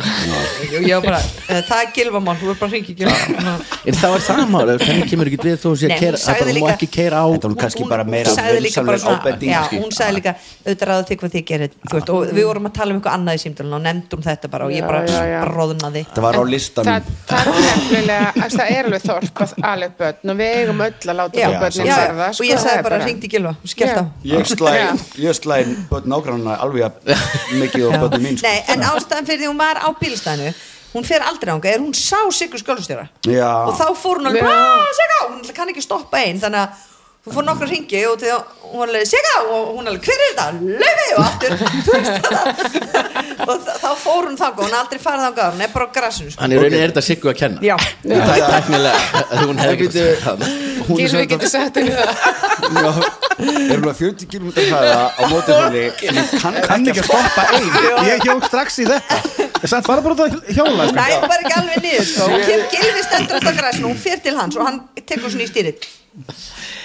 S6: ég ég var bara, eh, það er gilvamál, þú verður bara að hringja í gilvamál
S4: en það var það mál, ef henni kemur ekki við þó sé
S6: Nei,
S4: að keira,
S6: hún
S4: það
S6: sagði
S4: bara má
S6: líka-
S4: ekki keira á
S7: Þetta var nú kannski bara meira
S6: sagði líka bara
S7: vinsamleg
S6: svona-
S7: ábending
S6: já,
S7: kannski.
S6: hún sagði líka auðvitað ráðu þig hvað þið gerir þú veist, og við vorum að tala um eitthvað annað í símdölun og nefndum þetta bara og ég
S8: Já,
S6: bara
S8: já, já.
S6: bróðnaði
S7: þetta var á listanum
S8: það, það er nefnilega, að það er alveg þorp að alveg börn og við eigum öll að láta
S6: Já,
S8: okkur börnin
S6: já,
S8: verða sko,
S6: og ég sagði bara hringdi gilva og skellt á
S7: Ég slæði,
S8: Já.
S7: ég slæði börn ágrannana alveg jafn mikið og börnum mín sko.
S6: Nei, en ástæðan fyrir því hún var á bílstæðinu hún fer aldrei ánga, er hún sá Sigur skólastjóra
S7: Já.
S6: og þá fór hún alveg
S8: Já.
S6: "Ah, Sigga!" hún kann ekki stoppa einn þannig að hún fór nokkra ringi og til, hún var alveg Sigga og hún alveg hver er þetta, löfi og aftur þú veist það og þa- þá fór hún þangað, hún er aldrei farið þangað hún er bara á grassinu sko.
S4: Þannig í rauninni er þetta Siggu að kenna
S6: Já.
S4: Það er teknilega að hún hefði ekki sagt það.
S7: Hún
S8: Gylfi getur sagt henni það
S7: Já, er hún að 40 km hraða á mótorhjóli sem ég kann
S5: kann ekki að stoppa ein ég hjók strax í þetta ég samt fara bara út að hjóla sko.
S6: Nei, hún var ekki alveg niður sko. hún kemur gilfi stendur alltaf græsinu hún fyrir til hans og hann tekur svona í stýrið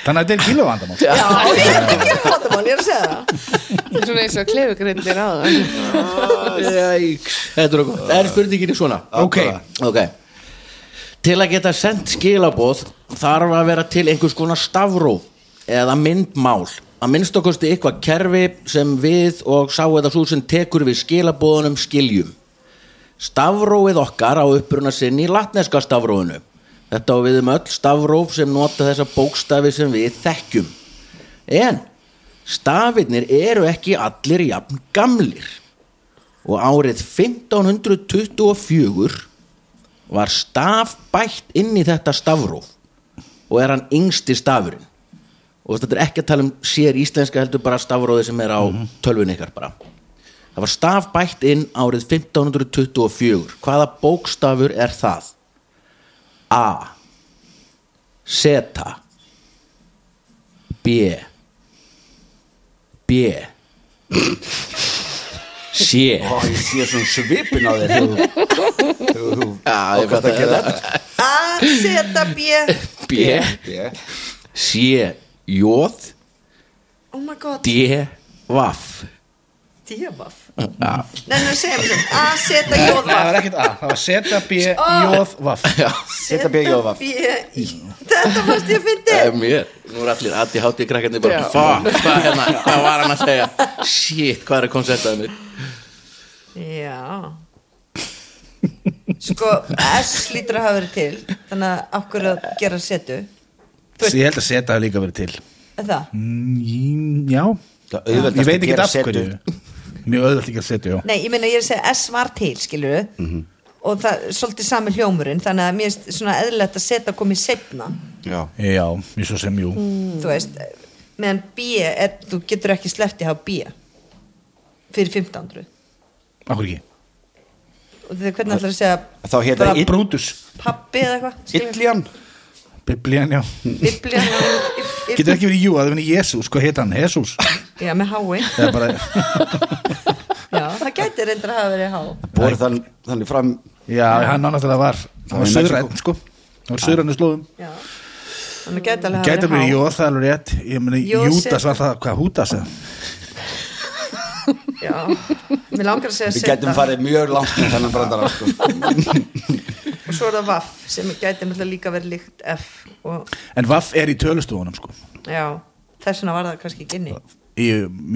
S5: þannig að þetta er kíluvandamál
S6: Já, ég er þetta að gera vandamál, ég er að segja það
S8: Svona eins og klefugrindin á það
S4: Jæks, þetta er okkur Er spurningin í svona?
S5: Ok.
S4: Ok Til að geta sendt skilaboð þarf að vera til einhvers konar stafróf eða myndmál að minnst okkusti eitthvað kerfi sem við og sá eða svo sem tekur við skilaboðunum skiljum Stafrófið okkar á uppruna sinni í latneska stafrófinu Þetta á við um öll stafróf sem nota þessa bókstafi sem við þekkjum En stafirnir eru ekki allir jafn gamlir og árið 1524 var staf bætt inn í þetta stafróf og er hann yngsti stafurinn og þetta er ekki að tala um sér íslenska heldur bara stafróði sem er á tölvun ykkar bara það var staf bætt inn árið 1524 hvaða bókstafur er það? A Seta B B C
S7: Ó, ég sé svona svipin á þér þegar þú- þegar þú
S4: Já, ég
S7: ákvæmst
S4: fatt
S7: að gera þetta
S6: A, seta, b,
S4: B,
S7: Ég-
S4: C, Jóð
S6: oh my god
S4: D, Vaff
S6: djöfaf Nei, nei, segja mér sem A, seta, jóðvaf
S5: það var ekkert A, það var seta b
S6: Sko.
S5: jóð vaff
S7: Seta B, jóðvaf.
S6: B- E Þetta fannst ég að fyndi
S4: Eh, Mér, nú er allir aðti hátti krakkarnir bara Fuck, hvað, hérna, hvað var hann að segja Shit, hvað er að konceptaði mér
S6: Já Sko, S lítur að hafa verið til Þannig að okkur að gera setu
S5: ég held að seta hafi líka verið til
S6: Er Það?
S5: Mm, já,
S7: Það er auðveldast
S5: ég veit
S7: að
S5: ekki
S7: gera
S5: af hverju mjög auðvöld ekki að setja, já
S6: Nei, ég meina ég er að segja S var til, skilur við Og það er svolítið sami hljómurinn Þannig að mér er svona eðlilegt að seta komið setna
S7: Já,
S5: já, ég svo sem jú
S6: Þú veist, meðan B er, Þú getur ekki sleppt í hafa B Fyrir 1500
S5: okkur ekki,
S6: Og þegar hvernig ætlar að segja
S7: þá hét það
S6: Bara
S7: ill-
S5: Brutus
S6: Pabbi eða eitthvað skilurðu?
S7: Illjan
S5: biblían, já
S6: Biblían ill-
S5: getur ekki verið jú, það er verið Jésús, hvað heit hann, Jésús
S6: Já, með hái
S5: eða bara,
S6: Já, það gæti reyndar að hafa verið há
S7: Bór þann, þannig fram
S5: já, hann náttúrulega var
S7: Það
S5: hann var
S7: var í
S5: söðrætt,
S7: Mexíkó.
S5: sko hann var söðrætt í slóðum
S6: Já. Þannig gæti alveg hafa
S5: gæti að vera
S6: verið há
S5: jóð, það er alveg rétt ég meni,
S6: Jósef.
S5: Júdas var það, hvað, Húdas eða?
S6: Já, mér langar að segja
S7: Við gætum
S6: seta
S7: farið mjög langt í þannig brandara sko.
S6: og svo er það vaff sem gæti náttúrulega líka verið líkt F og
S5: en Vaff er í tölustofunum, sko
S6: já, þess vegna var það kannski ekki inni
S5: í,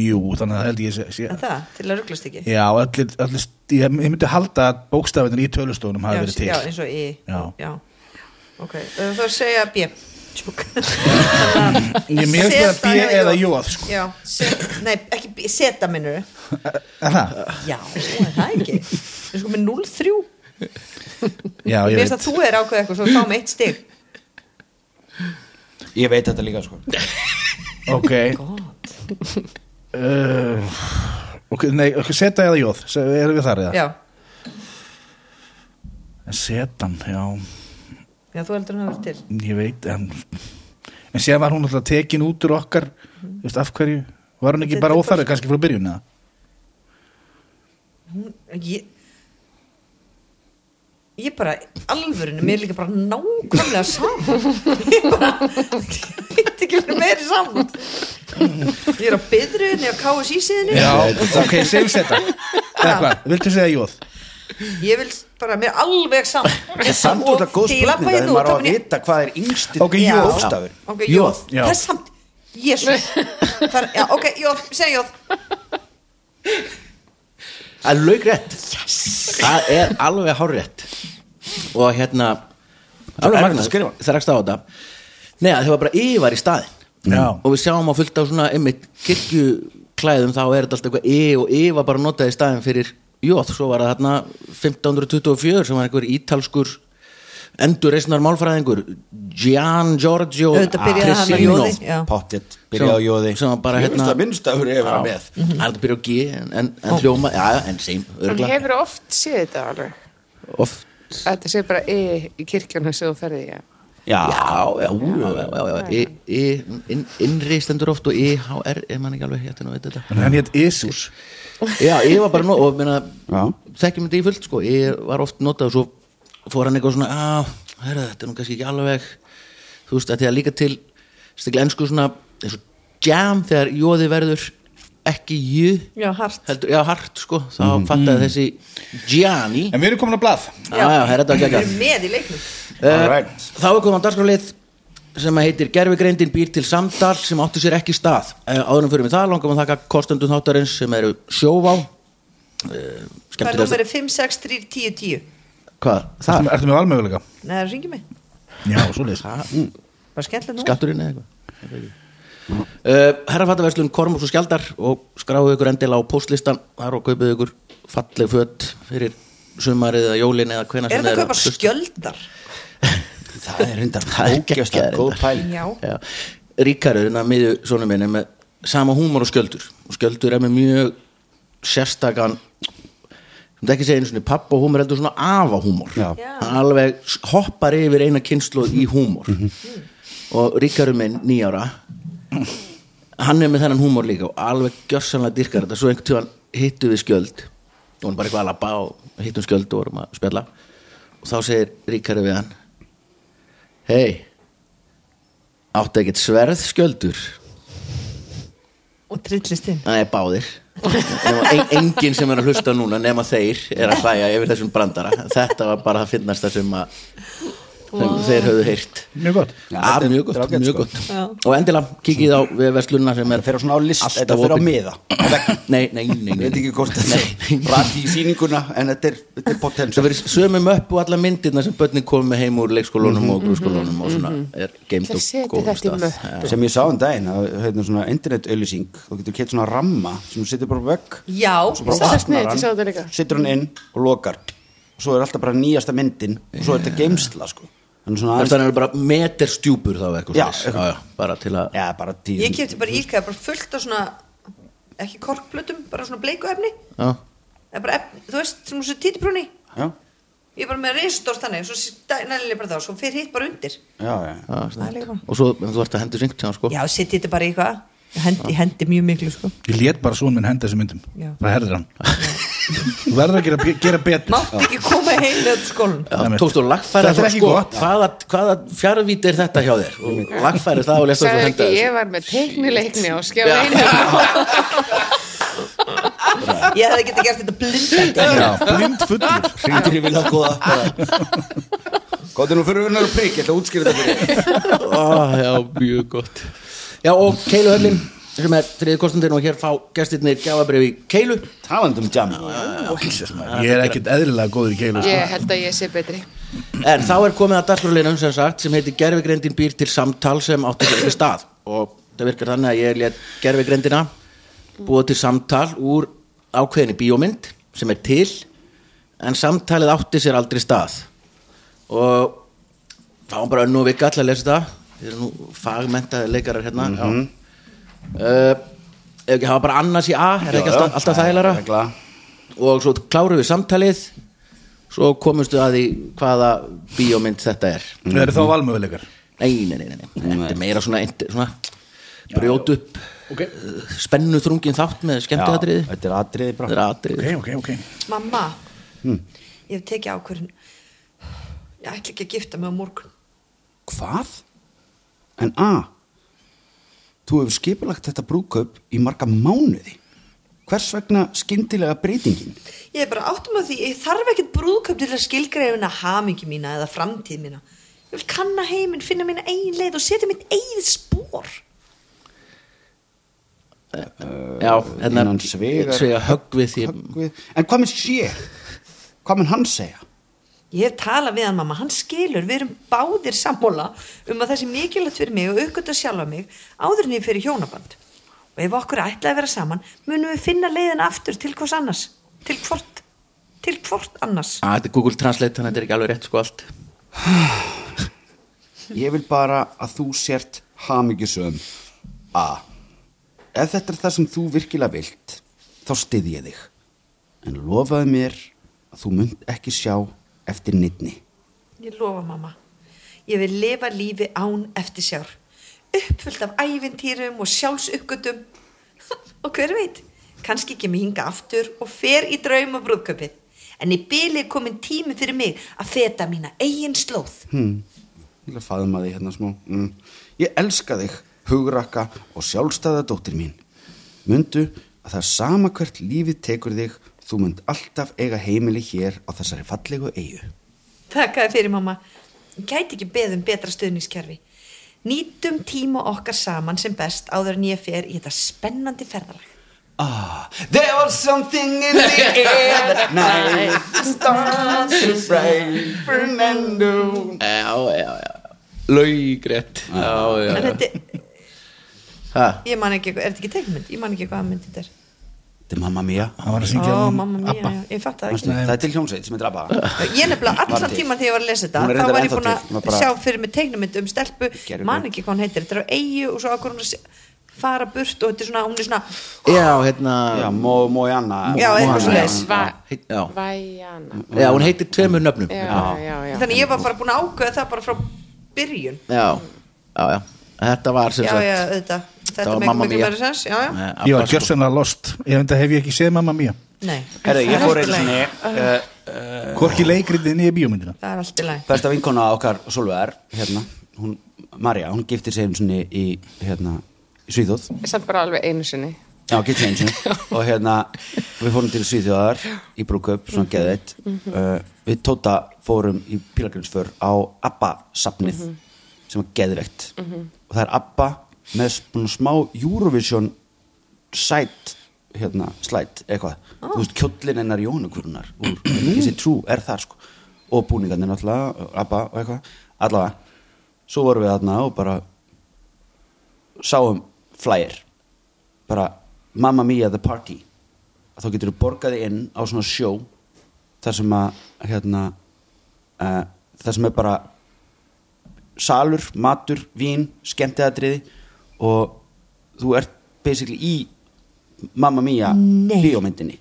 S5: jú, þannig að held ég sé, sé
S6: en það, til að rugglast ekki
S5: já, allir, allir ég, ég myndi halda að bókstafinir í tölustofunum hafi verið til
S6: já, eins og I
S5: Já.
S6: ok, uh, þá segja B Tjúk.
S5: Ég mér finnst það B eða jóð, sko
S6: já, set, nei, ekki B, seta minnur
S5: Er það?
S6: já, er það ekki við sko með 0-3
S5: Já,
S6: mér
S5: ég
S6: finnst
S5: veit
S6: að þú er ákveð eitthvað svo fáum eitt stig
S7: Ég veit þetta líka sko.
S5: Ok uh, Ok, nei, ok, seta eða jóð Se- Erum við þar eða?
S6: já,
S5: En setan, já,
S6: já þú heldur hann að vera til
S5: ég veit En, en séðan var hún alltaf tekin út úr okkar Þú veist, af hverju Var hún ekki
S6: Mhm. Þetta
S5: bara
S6: er
S5: óþarfi, kannski frá byrjun eða?
S6: ég ég bara, alvörinu, mér er líka bara nákvæmlega saman ég bara ég veit ekki verið meiri saman ég er á byðruðinu, ég er á KSÍ síðinu
S5: Já, ok, segjum seta Eða hvað, viltu segja jóð?
S6: ég vil bara, mér er alveg saman
S7: En samt út að góð
S6: þegar ég
S7: spurninga
S6: labbaði
S7: Þegar
S6: nú,
S7: maður á
S6: þá
S7: að
S6: finn ég-
S7: vita hvað er yngsti
S5: Ok,
S6: Já.
S5: jóð
S7: bókstafur.
S6: ok, jóð,
S5: Já.
S6: það er samt jésus ok, jóð, segja jóð
S4: Það er laugrætt Það er alveg hárétt Og hérna Alveg
S5: erfitt
S4: magnað,
S5: að skrifa.
S4: það rakst á þetta Nei, það var bara yfar í staðin
S5: Já.
S4: Og við sjáum á fullt á svona einmitt kirkjuklæðum þá er þetta alltaf eitthvað y og y var bara notaði staðin fyrir jóð, svo var það þarna 1524 sem var einhver ítalskur endur reisnar málfræðingur Gian Giorgio
S6: Auðvitað byrjaði hann á
S4: Crescino,
S6: jóði, já.
S7: Pottið, byrja á jóði
S4: sem var bara hérna
S7: minnstafur hefur
S4: Já.
S7: að með
S6: Mhm.
S4: hann er að byrja á G en, en, en hljóma, já, en seim
S8: Hann
S4: örgla,
S8: hefur oft séð þetta alveg.
S4: oft
S8: Að Þetta sé bara í, í kirkjunum sem þú ferði, já.
S7: Já,
S4: Já, já, já, já, já, já. Í, í, inn, innri stendur oft og IHR er mann ekki alveg hérna veit þetta
S5: En hann hétt Isus
S4: Já, ég var bara nú og meina,
S7: Já.
S4: þekkjum þetta í fullt sko ég var oft notað og svo fór hann eitthvað svona að, herra, þetta er nú kannski ekki alveg þú veist, að því að líka til stikla ensku svona, eins og jam þegar jóði verður ekki jö
S6: Já, hart
S4: heldur, já, hart sko, þá
S7: Mhm. Mm.
S4: fattaði þessi Gianni,
S5: En við erum komin á blað
S4: já, já, herra, þetta var
S6: Við
S4: ekki
S6: erum með í leiknum
S7: alright
S4: Eh, Þá er komið á dagskrálið sem að heitir Gerfigreindin býr til samtal sem átti sér ekki stað Eh, áður en fyrir mig það langar maður að þakka kostendum þáttarins sem eru sjóvá Eh,
S6: Það er
S4: skemmtilegast
S6: númerið 5, 6, 3, 10, 10
S4: hvað,
S5: Ertu
S4: það,
S5: með- Ertu með valmöguleika?
S6: Nei, það ringir mig
S5: Já, svoleiðis
S6: Bara skemmtileg nú
S4: skatturinn eða eitthvað uh, herrafattaverslun Kormus og Skjaldar og skráðu ykkur endilega á postlistan þar og kaupið ykkur falleg föt fyrir sumarið eða jólin eða hvena
S6: Er
S4: sem
S6: þetta að
S4: er
S6: kaupa skjöldar?
S7: Það er reyndar
S4: Það er
S7: ógjösta
S4: geggjað
S7: góð
S4: reyndar.
S7: pæling
S6: Já
S4: Já, Ríkarur, hérna miðu svona minni með sama húmor og skjöldur og skjöldur er með mjög sérstakan sem ekki segja einu svona pappa og húmor heldur svona afa húmor
S7: Já.
S6: Já.
S4: hann alveg hoppar yfir eina kynsluð í húmor og Ríkarur minn nýjára hann er með þennan húmor líka og alveg gjörsanlega dyrkar þetta svo einhvern tíðan hittu við skjöld og hann bara eitthvað að labba og hittum skjöld og vorum að spjalla og þá segir Ríkarur við hann hei áttu ekkert sverð skjöldur
S6: Og trillist inn
S4: Nei, báðir nema, en, engin sem er að hlusta núna nema þeir er að hlæja yfir þessum brandara þetta var bara að finnast það sem að sem þeir höfðu heyrt
S5: Mjög gott
S7: Já,
S4: Ah,
S7: þetta er-
S4: mjög gott,
S7: þetta er ágætt,
S4: mjög
S7: sko.
S4: gott. og endilega kikið á vefverslunna sem er
S7: Það fer á svona á list,
S4: alltaf
S7: þetta fer á
S4: opin.
S7: miða á vegg.
S4: nei, nei, nei,
S7: Ég
S4: nei,
S7: veit ekki hvort
S4: nei.
S7: þetta rati í sýninguna en þetta er, þetta er
S4: það
S7: potential
S4: verið sömum upp og alla myndirna sem börnin komið með heim úr leikskólunum
S7: Mhm,
S4: og grunnskólunum og
S8: mhm,
S4: svona er geimt
S8: Það
S4: og
S8: seti
S4: góðum
S8: þetta í
S4: stað
S8: möppu.
S4: Já.
S7: sem ég sá um daginn að hérna svona internet auðlýsing þú getur keitt svona ramma sem þú setur bara á vegg
S6: Já,
S8: Það er sniðið, ég sá þetta líka.
S7: setur hann inn og lokar og svo er alltaf bara nýjasta myndin og svo er þetta geimsla sko þannig svona
S4: þannig að
S7: aðeins
S4: það er bara meterstjúpur þá eitthvað
S7: Já,
S4: svoleiðis. já,
S7: eitthvað.
S4: já, bara til að
S7: já bara tíu
S6: ég kefti bara íkæða bara fullt á svona ekki korkblötum, bara svona bleiku efni
S4: já.
S6: eða bara efni, þú veist, sem þessu títibrúni
S7: já,
S6: ég er bara með reistórt þannig, svo nælilega bara þá svo fyrir hitt bara undir
S7: já, já.
S4: Já,
S6: Það er líka bara.
S4: og svo en þú ert að hendur syngt hjá hann sko
S6: já, sitt þetta bara í eitthvað Ég hendi, ég hendi mjög miklu sko
S5: Ég lét bara svona minn henda þessum myndum
S6: Já.
S5: Það herðir hann Þú verður að gera, gera betur
S6: mátt ekki koma heim með þetta skólan
S4: Já, tókst þú að lagfæra
S5: Þetta er
S4: það
S5: ekki
S4: sko,
S5: gott.
S4: hvaða, hvaða fjárvíti er þetta hjá þér og lagfæra það og lesa
S8: Sæði
S4: þessu
S8: ekki,
S4: henda
S8: ég
S4: þessu
S8: var með teiknileikni og skjá einu.
S6: ég hefði getið gert þetta blindandi
S5: Já, blind fullur
S7: hringdur í vilja góða góðið nú fyrir vinnar og prík ég ætla að útskýra þetta fyrir þér.
S4: oh, já, mjög gott já og Keilu Höllin sem er þriði kostandinn og hér fá gestirnir gjafabrif í Keilu
S7: talandi um jam
S5: Ég er ekkert eðlilega góður í keilu sko.
S8: Ég held að ég sé betri.
S4: en þá er komið að dagskráleinum sem sagt sem heitir Gervigreindin býr til samtal sem átti sér ekki stað og það virkar þannig að ég let Gervigreindina búa til samtal úr ákveðinni bíómynd sem er til en samtalið átti sér aldrei stað og þá var bara önnú vika alltaf að lesa þetta þið eru nú fagmentaði leikarar hérna mm -hmm. uh, ef ekki hafa bara annars í A er það ekki alltaf, alltaf þægilega og svo kláruðu við samtalið svo komumstu að því hvaða bíómynd þetta er
S5: Það eru þá valmöguleikar
S4: nei, nei, nei, nei, nei. þetta er meira svona, int- svona brjót upp okay. spennu þrungin þátt með skemmtiðatriði
S7: þetta er atriði
S4: þetta
S7: bara
S4: er atriði
S5: Ok, ok, ok
S6: mamma ég hef tekið ákvörðin ég ætla ekki að gifta mig á morgun
S7: hvað? en a þú hefur skipulagt þetta brúkaup í marga mánuði hvers vegna skyndilega breytingin?
S6: ég er bara áttum að því, ég þarf ekkert brúðköp til að skilgreifina hamingi mína eða framtíð mína ég vil kanna heiminn, finna mína eigin leið og setja mitt eigið spór
S4: já, hérna
S7: innan svigar-
S4: svega högg við því
S7: Höggvið. en hvað minn sé? hvað minn hann segja?
S6: Ég hef talað við hann mamma, hann skilur, við erum báðir sammála um að það sé mikilvægt fyrir mig og aukvitað sjálfa mig áður en ég fyrir hjónaband. Og ef okkur ætlaði að vera saman, munum við finna leiðin aftur til hvors annars, til hvort, til hvort annars.
S4: Ah, að þetta er Google Translate þannig að þetta er ekki alveg rétt sko allt
S7: Ég vil bara að þú sért hamingjusum A Ef þetta er það sem þú virkilega vilt þá styð ég þig en lofaðu mér að þú munt ekki sjá eftir nýtni
S6: Ég lofa mamma. Ég vil lifa lífi án eftir sjár. Uppfullt af ævintýrum og sjálfsuppgötum. og hver veit, kannski ekki mig hinga aftur og fer í drauma brúðköpið. En í byli er komin tími fyrir mig að feta mína eigin slóð.
S4: Hm.
S7: hmm. Ég vil að faðma þig hérna smá mm. Ég elska þig, hugrakka og sjálfstæða dóttir mín Mundu að það er sama hvert lífið tekur þig þú munt alltaf eiga heimili hér á þessari fallegu eigu
S6: Takk að fyrir mamma. Gæti ekki beðum betra stuðningskerfi. Nýtum tíma okkar saman sem best áður en ég fer í þetta spennandi ferðalag.
S7: Ah, there was something in the air that night The stars were bright Fernando
S4: Já, já, já Laugrétt Já, já,
S6: En
S4: já
S6: þetta,
S4: Ha,
S6: ég man ekki, er þetta ekki teikmynd? Ég man ekki hvaða mynd þetta er.
S7: Þetta er mamma mía
S5: hann var að syngja
S6: Ó,
S5: um
S6: mamma mía,
S5: Abba.
S6: já, ég fatt það ekki.
S7: Manstu, Það er til hljómsveit sem heitir Abba
S6: Ég nefnilega
S7: Var
S6: allan
S7: til.
S6: tíman þegar ég var að
S7: Hún er
S6: lesa þetta þá
S7: reyndar
S6: var ég
S7: ennþá
S6: búin
S7: til, hún er
S6: að
S7: bara-
S6: sjá fyrir mig teiknumind um stelpu
S7: Gervigreind.
S6: man ekki hvað hún heitir, þetta er á eigu og svo akkur hún að se- fara burt og þetta er svona, hún er svona
S4: Já, hérna
S7: Já, Mó, Mói Anna
S6: Já, eitthvað
S7: Mói Anna,
S6: svoleiðis.
S7: já.
S8: Va-
S4: heit- Já,
S8: Væjana
S4: já hún heitir tveimur nöfnum
S8: Já, já, já
S6: þannig ég var bara búin að ákveða það bara frá byrjun
S4: Já, já, já Þetta var sem
S6: já,
S4: sagt
S6: já, þetta,
S4: Það
S6: þetta
S4: var
S6: með
S4: Mamma
S6: miklu
S4: Mia.
S6: meira sens já, já,
S4: Eh,
S5: Ég
S4: Abba,
S5: var
S4: sko.
S5: gjörsanlega lost Ég veit að hef ég ekki séð mamma mía
S6: nei,
S7: Herra, ég fór einu
S6: Allt í lagi.
S7: sinni uh,
S5: Hvorki leikritið nýja bíómyndina
S6: það er allt í læg
S7: Besta vinkona okkar Solvegar hérna, hún, Marja, hún gifti sig einu sinni í, hérna, í Svíþjóð
S8: Samt bara alveg einu sinni
S7: Já, gifti sig einu sinni og hérna, við fórum til Svíþjóðar í brúköp, svona geðveitt uh, Við Tóta fórum í pílagrinsför á Abba-safnið sem var geðveitt og það er Abba með svona smá Eurovision sæt hérna, slætt, eitthvað þú veist, kjóllin hennar Jónukrunar úr þessi trú er það sko og búningarnir náttúrulega, Abba og eitthvað allavega, svo vorum við þarna og bara sáum flyer bara Mamma Mia the Party þá getur þú borgaði inn á svona sjó þar sem að hérna, uh, þar sem er bara salur, matur, vín skemmtiðatriði og þú ert basically í Mamma Mia
S6: Nei.
S7: bíómyndinni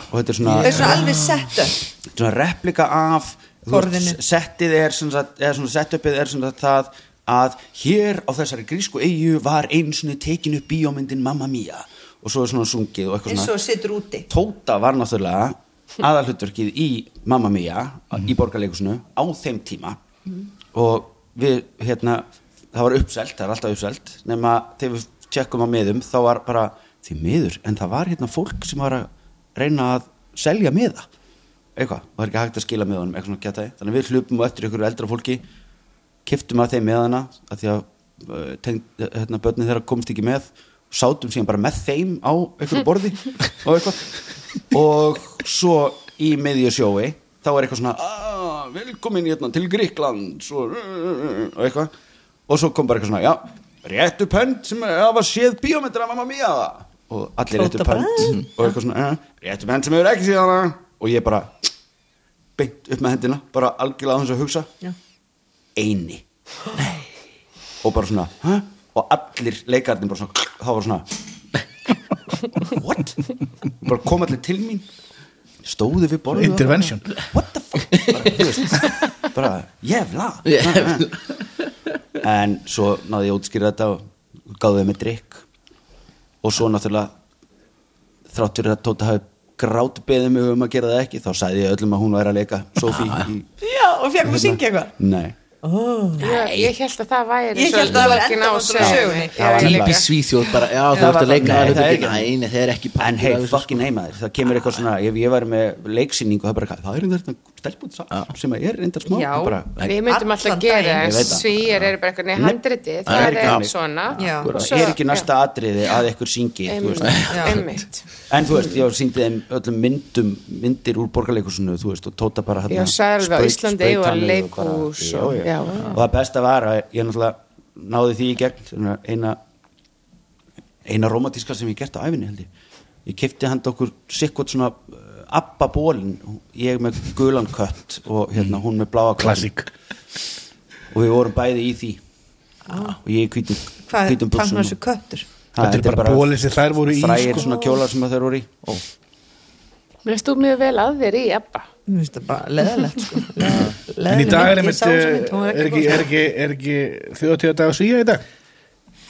S7: og þetta er svona,
S6: það er svona alveg sett upp
S7: þetta er svona replika af þú veist,
S6: Borðinu.
S7: settið er sem sagt, eða svona setupið er sem sagt það að hér á þessari grísku eigu var einu svona tekin upp bíómyndin Mamma Mia og svo er svona sungið og eitthvað
S6: eins
S7: svona
S6: og situr úti
S7: Tóta var náttúrulega aðalhutverkið í Mamma Mia í borgarleikusinu á þeim tíma og við hérna það var uppselt, það er alltaf uppselt nema þegar við tjekkum á miðum þá var bara því miður, en það var hérna fólk sem var að reyna að selja miða, eitthvað, það var ekki hægt að skila miðunum, eitthvað svona getaði, þannig að við hlupum á eftir ykkur eldra fólki, kiftum að þeim miðana, að því að uh, teng, hérna, börnin þeirra komst ekki með sátum síðan bara með þeim á einhverju borði og eitthvað og svo í miðjusjói þá er eitthvað svona "Ah, velkomin hérna til Gríkland svo, og eitthvað og svo kom bara eitthvað svona já, réttu pönt sem hafa séð bíómyndra mamma mía og allir réttu
S6: Tóta bara,
S7: pönt og eitthvað svona "Eh, réttu pönt sem hefur ekki séð hana og ég bara beint upp með hendina bara algjörlega á þess að hugsa
S6: Já.
S7: eini og bara svona Hæ? og allir leikarnir bara svona þá var svona what? bara kom allir til mín stóðu við borðið
S5: Intervention.
S7: bara, what the fuck bara, þú veist, bara jævla en svo náði ég að útskýra þetta og gáði þeim með drikk og svo náttúrulega þrátt fyrir að Tóta hafi grátbeðið mig um að gera það ekki þá sagði ég öllum að hún væri að leika Sophie í
S6: já, og fekkum að syngja eitthvað
S7: Nei
S8: Ég, ég held að það væri
S6: Ég held að það væri
S8: lokin á
S6: endalokin á sögunni.
S8: sögunni. Já,
S7: Það var
S8: ég
S7: líka-
S8: líka.
S4: Í Svíþjóð bara, já, þú
S7: Það
S4: ert
S7: var
S4: að leika
S7: bara- Nei, það er
S4: aðalhlutverkið.
S7: ekki-
S4: Nei, nei, það er ekki
S7: En
S4: partur af
S7: hei,
S4: þessu, sko.
S7: fucking nei maður, það kemur eitthvað svona Ef ég væri með leiksýningu, það er bara eitthvað Það er þetta stelpun sá- sem er reynda smá
S8: Já,
S7: bara,
S8: við myndum alltaf
S6: Allan
S8: gera
S6: daginn.
S7: Ég
S8: en
S7: veit það.
S8: svíjar eru bara eitthvað handriti,
S7: það
S8: það
S7: er
S8: er
S7: ekki
S8: svona
S6: Já.
S8: og
S7: bara,
S8: svo-
S7: Er ekki næsta atriði að ekkur syngi
S8: Já,
S7: þú veist.
S8: einmitt,
S6: Já.
S8: einmitt
S7: En þú veist, ég síndi þeim öllum myndum Myndir úr borgarleikursinu, þú veist Og tóta bara hérna
S8: Já, Sælva,
S7: spraut-
S8: Íslandi
S7: sprautanum
S8: eigum að
S7: bara-
S8: leikhús
S7: Já,
S8: og-
S7: já.
S8: já.
S7: Og það besta var að ég náttúrulega Náði því í gegn svona Eina eina romantíska sem ég hef gert á æfinni held ég ég kefti handa okkur sikkot svona eh, abba bólin, ég með gulan kött og hérna hún með bláa kött
S5: Classic.
S7: og við vorum bæði í því
S8: Ah.
S7: og ég í hvítum
S6: Hvað
S7: hvítum
S6: er
S7: buxum.
S6: tannar þessu köttur?
S7: Ha,
S5: Þetta er bara bolið sem þær voru í,
S7: frægir
S5: sko.
S7: svona kjólar sem þær voru í
S8: Leist þú mjög vel að þér í Ebba?
S6: Mér finnst það bara leðalegt sko.
S5: En í dag er
S6: Ég
S5: einmitt
S6: sá þessa mynd, hún
S5: eh,
S6: var
S5: er ekki,
S6: góð. sko.
S5: er ekki, er ekki þjóðtíða dag að svíja í dag?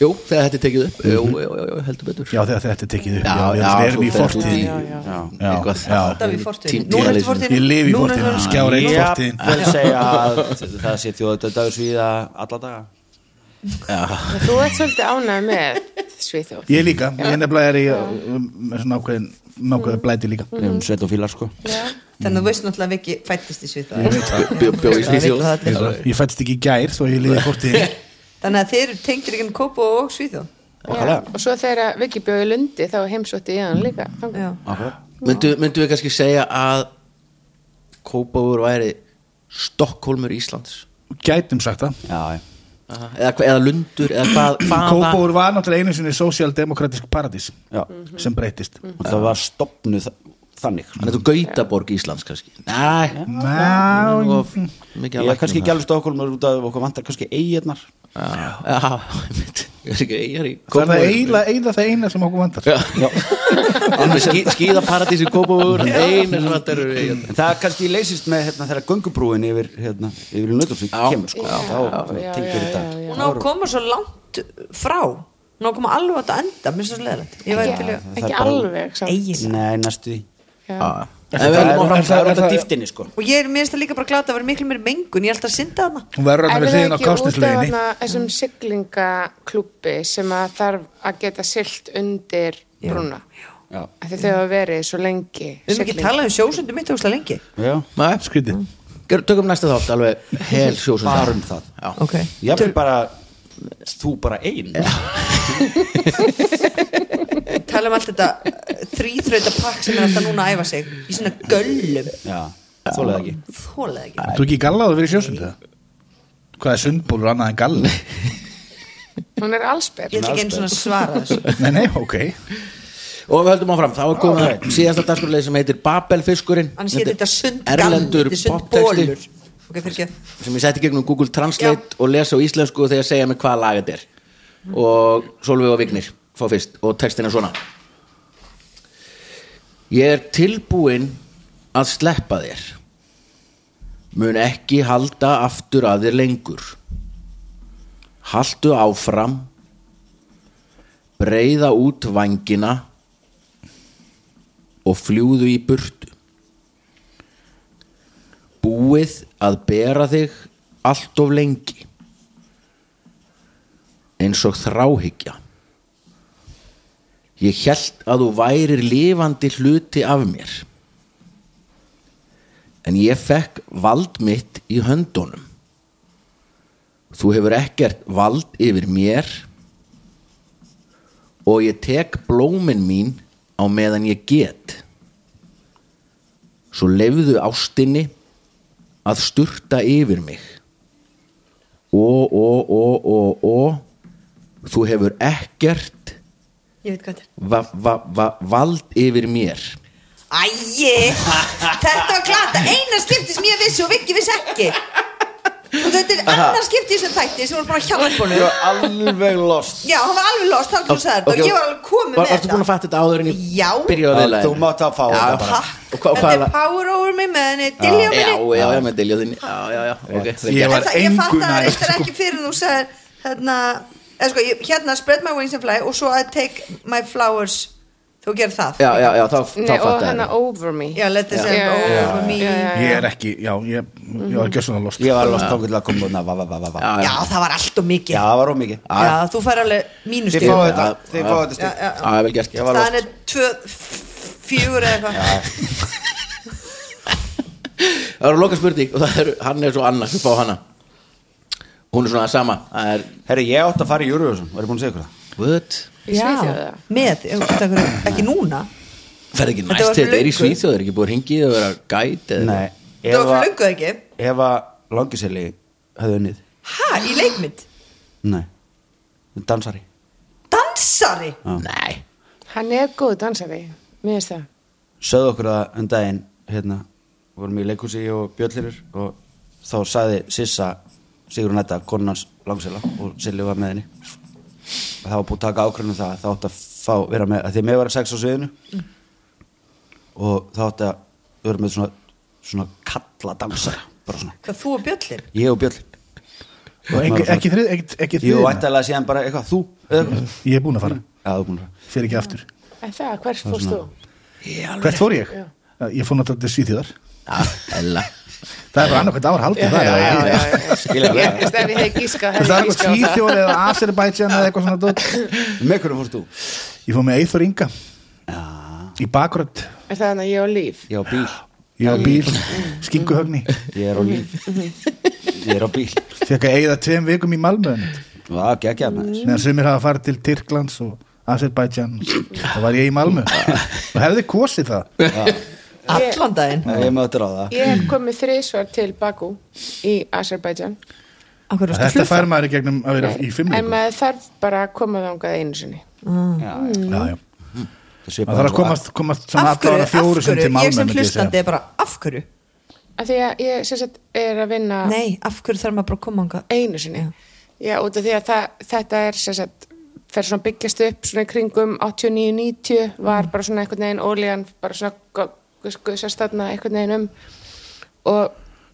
S2: Jú, þegar þetta er tekið upp Jú, jú, jú, jú heldur betur
S5: Já, þegar þetta er tekið upp,
S2: Mhm. Já,
S5: já, já,
S2: já,
S5: við erum
S2: svo
S5: í
S2: fer-
S5: fortíðinni Já,
S2: Eitthvað.
S5: já,
S6: Alltaf í
S2: Tím-
S6: fortíðinni. Núna ertu
S2: tímaleysi.
S6: í fortíðinni.
S5: ég lifi í
S6: Núna er
S5: fortíðinni,
S6: hann-
S5: skjára einn
S7: Já,
S5: fortíðin
S7: vel segja að það sé þjóðadagur svíða alla daga
S8: Þú ert svolítið ánægð með Svíþjóð.
S5: Ég líka, ég nefnilega er í um, með svona ákveðin, nákvæðin blæti líka
S7: við erum sveit og fílar sko
S8: Já.
S6: Þannig að þú veist náttúrulega ekki fættist í Svíþjóð
S2: Bjó í Svíþjóð
S6: Það vita það allir.
S5: Ég fættist ekki í gær þó ég lifi í fortíðinni
S6: Þannig að þeir eru tengir ekki Kópo og Svíþjóð
S8: Já. Og svo þegar Viki bjóði Lundi þá heimsótti ég hann líka. þangað.
S6: Já.
S2: Myndu, myndu við kannski segja að Kópavur væri Stokkólmur Íslands
S5: Gætum sagt það
S7: já, já.
S2: eða, hva- eða Lundur eða hvað, hvaða
S5: Kópóur var náttúrulega einu sinni sósialdemokratisk paradís
S7: Já.
S5: sem breytist
S7: og það var stopnuð þa- þannig
S2: Þannig að þú Gautaborg Íslands kannski Nei,
S5: Ná,
S2: það var mikið að
S7: ég er
S2: lækna
S7: kannski
S2: um
S7: ekki alveg stokkulmur út af okkur vantar kannski eigarnar
S2: það. Já, já, einmitt. Ég er ekki eigar í
S5: Það er
S2: Kópavogur.
S5: það eila, eila það eina sem okkur vandar
S2: Já. Alveg skí, skíðaparadís í Kópavur einu sem þetta eru eigar
S7: en það kannski leysist með hérna, þegar göngubrúin yfir, hérna, yfir Nautilsvík
S2: Já.
S7: kemur sko, þá
S8: já,
S7: tengir
S8: já,
S7: þetta
S8: já, já.
S6: Og ná koma svo langt frá Ná koma alveg átt að enda Mér er svo leðalegt Ég væri til að
S8: Ekki, ekki alveg. samt.
S6: eigin
S7: nei, næstu því
S5: Ah,
S8: Já.
S2: En við
S7: það
S2: viljum
S7: er-
S2: áfram
S7: það er út af dýftinni sko
S6: Og ég er mér finnst það líka bara glata að vera miklu meiri mengun Ég held að synda hana
S5: Hún verður hann
S8: Er það
S5: við hliðin á
S8: ekki út af
S5: kásnisleginni
S8: þarna þessum siglingaklúbbi sem að þarf að geta silt undir
S6: Já.
S8: brúna?
S7: Já.
S8: Af Því þau hafa verið svo lengi.
S6: Við erum ekki
S8: sigling-
S6: talað um sjósundu mitt óslega lengi
S7: já,
S2: Nei,
S5: Skrítið
S2: ger- tökum næsta þátt alveg hel sjósund
S7: bara um það
S6: Ok
S7: ég er bara þú bara ein
S6: Tala um allt þetta þrýþrauta pakk sem er alltaf núna að æfa sig Í svona göllum
S7: já, þólega ekki
S6: Þólega ekki
S5: Þú ekki gallaðu fyrir sjósund það? Hvað er sundbólur annað en gall?
S8: Hún er allsberg.
S6: Ég ætla ekki einu svona að svara þessu
S5: Nei, nei, ok
S2: Og við höldum áfram, þá er komið okay. síðasta dagskorleið sem heitir Babelfiskurinn
S6: Annars hétt þetta sund
S2: Erlendur
S6: þetta er sund
S2: poptexti.
S6: bolur. Ok, fyrir ekki
S2: sem ég setti gegnum Google Translate og lesa á íslensku þegar segja mig hvaða lag þetta er og Solveig og Vignir fá fyrst og textin er svona Ég er tilbúinn að sleppa þér mun ekki halda aftur að þér lengur haltu áfram breyða út vangina og fljúðu í burtu búið að bera þig allt of lengi eins og þráhyggja ég held að þú værir lifandi hluti af mér en ég fekk vald mitt í höndunum þú hefur ekkert vald yfir mér og ég tek blómin mín á meðan ég get svo leifðu ástinni að sturta yfir mig Ó, ó, ó, ó, ó Þú hefur ekkert
S6: Ég veit hvað þetta er
S2: va, va, va, vald yfir mér
S6: Æi, þetta var klata eina skipti sem ég vissi og Viki vissi ekki og þetta er annar skipti sem þætti sem var bara hjálpunum
S7: alveg lost
S6: já, hann var alveg lost, hann þú sagði þetta og ég var alveg
S2: var,
S6: komið með
S2: Varstu búin að
S6: þetta
S2: fatta þetta áður en ég
S6: Já.
S2: byrjaði að viðlaði
S7: þú mátt að fá þetta bara
S6: takk,
S2: Og hvað- og
S6: þetta
S2: hvað
S6: er
S2: er-
S6: power over mig með henni dilja á
S2: Já,
S6: minni
S2: já, já, með dilja þinn Já, já, já, ok vel
S5: Ég
S2: gert.
S5: var
S6: En það- ég
S5: engu
S6: fatt að
S5: nær,
S6: það reyndar
S5: sko.
S6: ekki fyrir en þú sagði hérna, eða sko, ég- hérna spread my wings and fly og svo I take my flowers þú gerir það
S2: Já, já, já, þá, þá
S8: Nei, og
S2: fatta
S8: hérna
S2: þetta
S8: over me.
S6: já, let this
S8: Já, já,
S6: end
S8: já,
S6: over me
S8: já, já, já. Mhm.
S5: Ég er ekki, já, ég, ég var ekki svona lost
S7: ég var lost þá getur að koma na, va, va, va, va, va.
S6: já, það var allt og mikið
S7: já, það var ómikið
S6: Já, þú fær alveg
S7: þið
S6: mínustíð
S7: fáið þetta þið fáið þetta stið
S2: Já, já, vel gert
S6: Staðan er tvö, fjögur eða eitthvað
S2: Það eru loka spurning og það eru, hann er svo annars Fá hana Hún er svona það sama Það er,
S7: herri, ég átt að fara í Eurovision var ég búin að segja ykkur það
S2: what?
S8: Í Svíþjóð, eða?
S6: með, ef þú ert að hverju- ekki núna
S2: Ferð ekki
S6: var
S2: næst
S6: fyrir
S2: þetta er í
S6: löngu.
S2: Svíþjóð Er ekki búið að hringið og vera gæt eða-
S7: Nei,
S6: það var fyrir
S7: ef
S6: löngu ekki
S7: að, að langiseli hefði unnið
S6: ha, í leikmynd,
S7: Nei, dansari
S6: dansari
S2: Nei
S8: Hann er góð dansari, mér finnst það.
S7: Söðu okkur það um daginn hérna, vorum í leikhúsi og bjöllirur og þá saði Sissa Sigrun Edda, konans langsela og Silli var með henni það var búið að taka ákvörðunum það þá átti að fá, vera með, að því að mér var að sex á sviðinu og þá átti að vera með svona, svona kalla dansara bara svona,
S6: Hvað þú og Bjöllin?
S7: ég og Björn
S5: Og ekki, ekki þrið, ekki, ekki
S7: Jú,
S5: þrið
S7: ættalega síðan bara eitthvað, þú eða eitthvað.
S5: Ég er búin að fara,
S7: Já, þú er búin að
S5: fyrir ekki aftur
S8: En það, hvers fórst þú?
S5: Hvert fór ég? Ég fór náttúrulega til Svíþjóðar
S2: Ah, Ella
S5: Það er bara annað hvert ár haldið það er-
S8: já, já.
S7: Skilja
S8: Ég
S7: það.
S8: veist ef ég hefði gískað
S5: Það er
S8: hefði
S5: eitthvað
S8: ég gískað á það.
S5: Svíþjóð eða Azerbaijan eða eitthvað svona dót.
S7: Með hvernig fórst þú?
S5: Ég fór með Eithor Inga Í bakrönd
S8: Er það þannig að ég á líf?
S7: Ég á bíl,
S5: Ég á bíl, skinguhögni
S7: ég er á líf Ég er á bíl
S5: Fekk að eigða tveim vikum í Malmönd
S7: Það er geggjað með þess
S5: Meðan sumir hafa farið til Tyrklands og Azerbaijan Það var ég í Malmö Og hefði kosið það
S6: Allan daginn?
S7: Ég möttur á það
S8: Ég hef komið þrísvar til Bakú í Azerbaijan
S6: Af hverju varstu að
S5: Þetta
S6: flugfara?
S5: fær maður í gegnum að vera í fimm
S8: en
S5: vikum
S8: maður þarf bara að koma þangað einu sinni
S7: Já, já.
S5: Já, já.
S7: Það sé
S5: Það þarf
S7: bara
S5: að
S7: svo
S5: komast, komast svona
S6: Af
S5: allra
S6: hverju,
S5: ára fjóru
S6: af
S5: sem til
S6: hverju, ég
S5: Malmö
S6: sem
S5: myndi ég segja.
S6: hlustandi er bara af hverju,
S8: af því að ég sem sagt er að vinna
S6: nei, af hverju þarf maður bara að koma anga
S8: einu sinni já, út af því að það, þetta er sem sagt fer svona að byggjast upp svona í kringum 89-90 var bara svona einhvern veginn ólíðan bara svona guðsast þarna einhvern veginn um og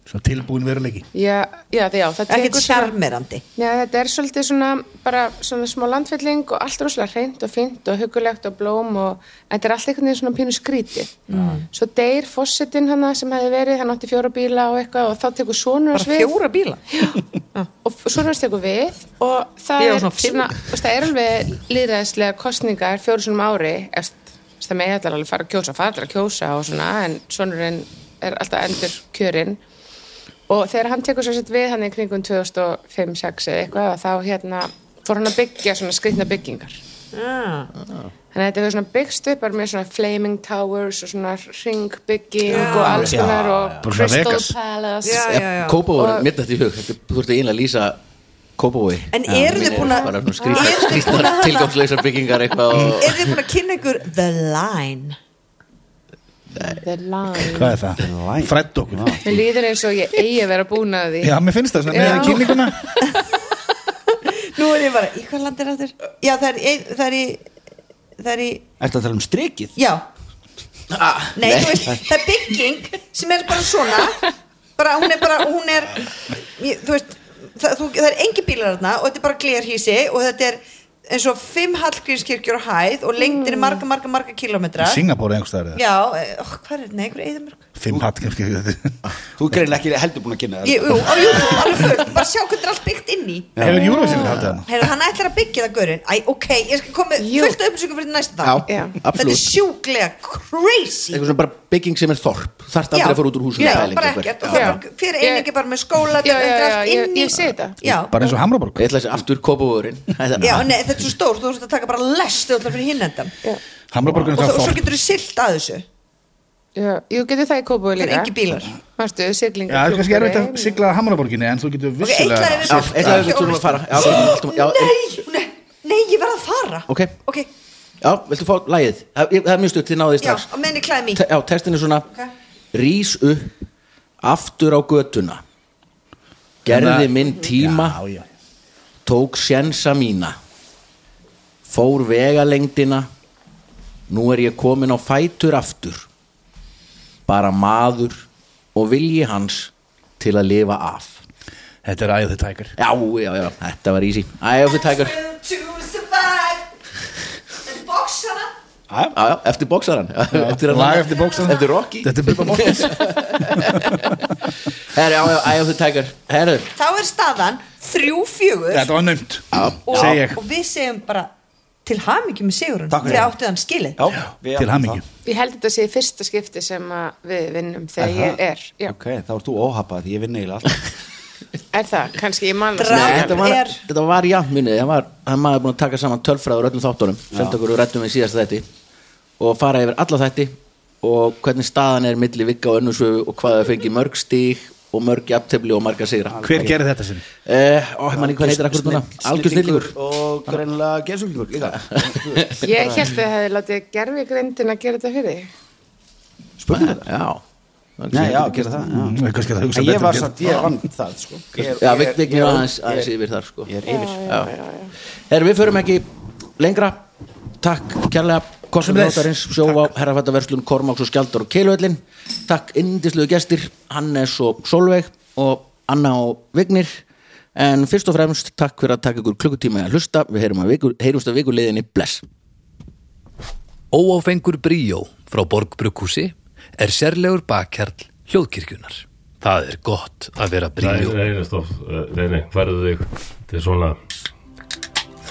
S5: Svona tilbúin veruleiki
S8: já, já, það, já það
S6: ekkert
S8: tekur svona-
S6: sjarmerandi
S8: Já, þetta er svolítið svona bara svona smá landfylling og allt rosalega hreint og fínt og hugulegt og blóm og en þetta er allt einhvern veginn svona pínu skrítið.
S6: Mm.
S8: Svo deyr fósitinn hana sem hefði verið, hann átti fjóra bíla og eitthvað og þá tekur sonur
S6: bara
S8: hans við
S6: fjóra bíla
S8: og f- sonur hans tekur við og það
S6: Ég var
S8: er
S6: svona fimm.
S8: svona, og það er alveg líðræðislega kostningar fjóru sinum ári, eftir það með ég ætla alveg að fara að kjósa, fara allir að kjósa og svona en sonurinn er alltaf endur kjörinn og þegar hann tekur svo sett við hann í kringum 2005-06 eða eitthvað þá hérna fór hann að byggja svona skrittna byggingar þannig að þetta hefur svona byggst upp bara með svona flaming towers og svona ringbygging og alls konar og
S5: Bara svona
S8: crystal
S5: Vegas.
S8: palace
S6: Já, já, já.
S2: Kópavói, mér dætti í hug þetta- Þú ert eiginlega að lýsa Kópavói
S6: En eru þið búin að-
S2: Bara svona
S6: Eru þið
S2: skrýta-
S6: búin
S2: skrýtnar
S6: að-
S2: tilgangslausar byggingar eitthvað og-
S6: er þið búin að kynna ykkur The Line
S8: the line
S5: Hvað er það? Frætt okkur
S8: Mér líður eins og ég eigi að vera búin að því.
S5: Já, mér finnst það svona með
S8: Já.
S5: kynninguna
S6: nú er ég bara, í hvað land er aftur já, það er, í- það er í það er í,
S7: Ertu að tala um strikið?
S6: já nei, þú veist, það er bygging sem er bara svona bara, hún er bara, hún er ég- þú veist, það, þú, það er engin bílar þarna og þetta er bara glerhísi og þetta er eins og fimm hallgrímskirkjur á hæð og lengdin er marga, marga, marga kilometra
S5: Singapore einhverstaðar eða
S6: já, oh, hvað er, nei, einhver eðamörk
S5: Fimm hatt kannski Hefur
S7: Þú er greinlega ekki heldur búin að kynna það
S6: Ég- Jú, á YouTube, alveg fullt, bara sjá hvernig er allt byggt inn í
S5: Eurovision haldið hann?
S6: Heyrðu, hann ætlar að byggja það gaurinn Æ, ok, ég skal koma með
S8: Jú.
S6: fullt af upplýsingum fyrir næsta dag
S8: Já.
S6: Þetta er
S2: Absolutt.
S6: sjúklega crazy
S2: Eitthvað svona bara bygging sem er þorp Þarft aldrei að fara út úr húsinu
S6: Já,
S2: pæling
S6: bara
S2: einhver.
S6: ekkert Og
S2: Já.
S6: það er Hver einingi bara með skóla
S8: Já,
S6: þetta
S8: já,
S6: er
S8: já,
S6: allt
S8: ég-
S6: inn í-
S8: ég sé þetta.
S6: Já,
S5: Bara eins og Hamraborg
S2: Ég ætla að segja aftur Kópavóurinn
S6: já nei, þetta er svo stór, þú þurft að taka bara lest Þú ætlar fyrir hinn endan
S5: Hamraborg er
S6: Og
S5: það
S6: þó- svo
S5: þorp
S6: getur þú silt að þessu
S8: Já, jú, getur það í Kópúi
S6: Það
S8: líka.
S6: er engin bílar
S8: Marstu, siglingar.
S5: Já, það er kannski erfitt að sigla að Hamraborginni en þú getur
S6: Ok,
S5: vissulega
S6: eitt
S2: Já, eitt lag við þurfum að fara. Já, ok, haltum- já, en-
S6: Nei, nei, nei, ég verð að fara
S2: Ok.
S6: Ok,
S2: Já, viltu fá lagið? Það, ég- það er mjög stutt, þið náðið
S6: já,
S2: strax
S6: og menni klæði
S2: Te- Já, textin er svona
S6: Ok.
S2: Rís upp aftur á götuna Gerði
S5: Þannig að-
S2: minn tíma
S5: Já, já
S2: Tók sjensa mína Fór vegalengdina Nú er ég komin á fætur aftur Bara maður og vilji hans til að lifa af
S5: Þetta er æðið tækir
S2: Já, já, já, þetta var easy Æ, of the tiger Já,
S6: To survive En boxana
S2: já, eftir bóksarann Eftir að-
S5: Lag eftir bóksarann.
S2: Eftir Rocky
S5: Þetta er Bubba Mortens
S2: Herri, já, já, Æ, of the tiger Herri,
S6: Þá er staðan þrjú fjögur
S5: Þetta var nömt
S6: og,
S5: Segja ég
S6: og við segjum bara til hamingjum með sigurinn
S7: Takk fyrir.
S6: Þið áttu þann skilið
S7: Já, við
S5: Til
S7: áttum
S5: hamingju
S7: það.
S8: Ég held þetta sé í fyrsta skipti sem að við vinnum þegar ég er. Já,
S7: Ok, þá ert þú óhappað, ég vinn eiginlega allt
S8: er það, kannski ég manna.
S6: Drag-
S2: Nei, þetta var,
S6: er-
S2: þetta var jafnmunið það var, það maður búin að taka saman tölfræður öllum þáttunum sem okkur við rættum við síðast þætti og fara yfir alla þætti og hvernig staðan er milli vikka og önnusöfu og hvað það fengi mörg stíg og mörg jafntefli og marga sigra
S5: Hver gerði þetta sinni?
S2: Eh, ó, manni, hvað heitir akkur núna? Algjör snillingur
S7: Og greinlega geðsuglingur líka
S8: Ég held að það hefði látið gerfi grindin að gera þetta fyrir. því.
S2: Spurning Já,
S7: Nei, já, gera það já.
S5: Mm, kannski að það hugsa
S7: En ég
S5: betur
S7: var
S5: um
S7: samt, ég vann það sko. ég, er-
S2: Já,
S7: ég er-
S2: við
S7: ég
S2: byggjum
S7: er-
S2: aðeins,
S7: ég
S2: aðeins
S7: er-
S2: yfir þar sko
S7: Ég er yfir
S2: Já. Herra, við förum ekki lengra Takk kærlega Kostum
S5: Sömuleiðis.
S2: Rótarins, Sjóvá, Herrafættaverslun, Kormáks og Skjaldur og Keilöðlin Takk indisluðu gestir, Hannes og Solveig og Anna og Vignir En fyrst og fremst takk fyrir að taka ykkur klukkutíma í að hlusta Við heyrum að viku, heyrumst að vikuleiðinni, bless
S4: Óáfengur bríó frá Borgbrukkúsi er sérlegur bakkjarl hljóðkirkjunar. Það er gott að vera
S3: Nei,
S4: bríó.
S3: nei, nei, stopp, Eh, nei, nei, færðu þig Þetta er svona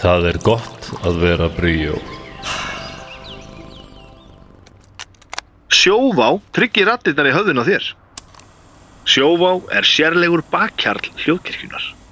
S3: Það er gott að vera bríó
S1: Sjóvá tryggir rattirnar í höfðun á þér. Sjóvá er sérlegur bakkjarl hljóðkirkjunar.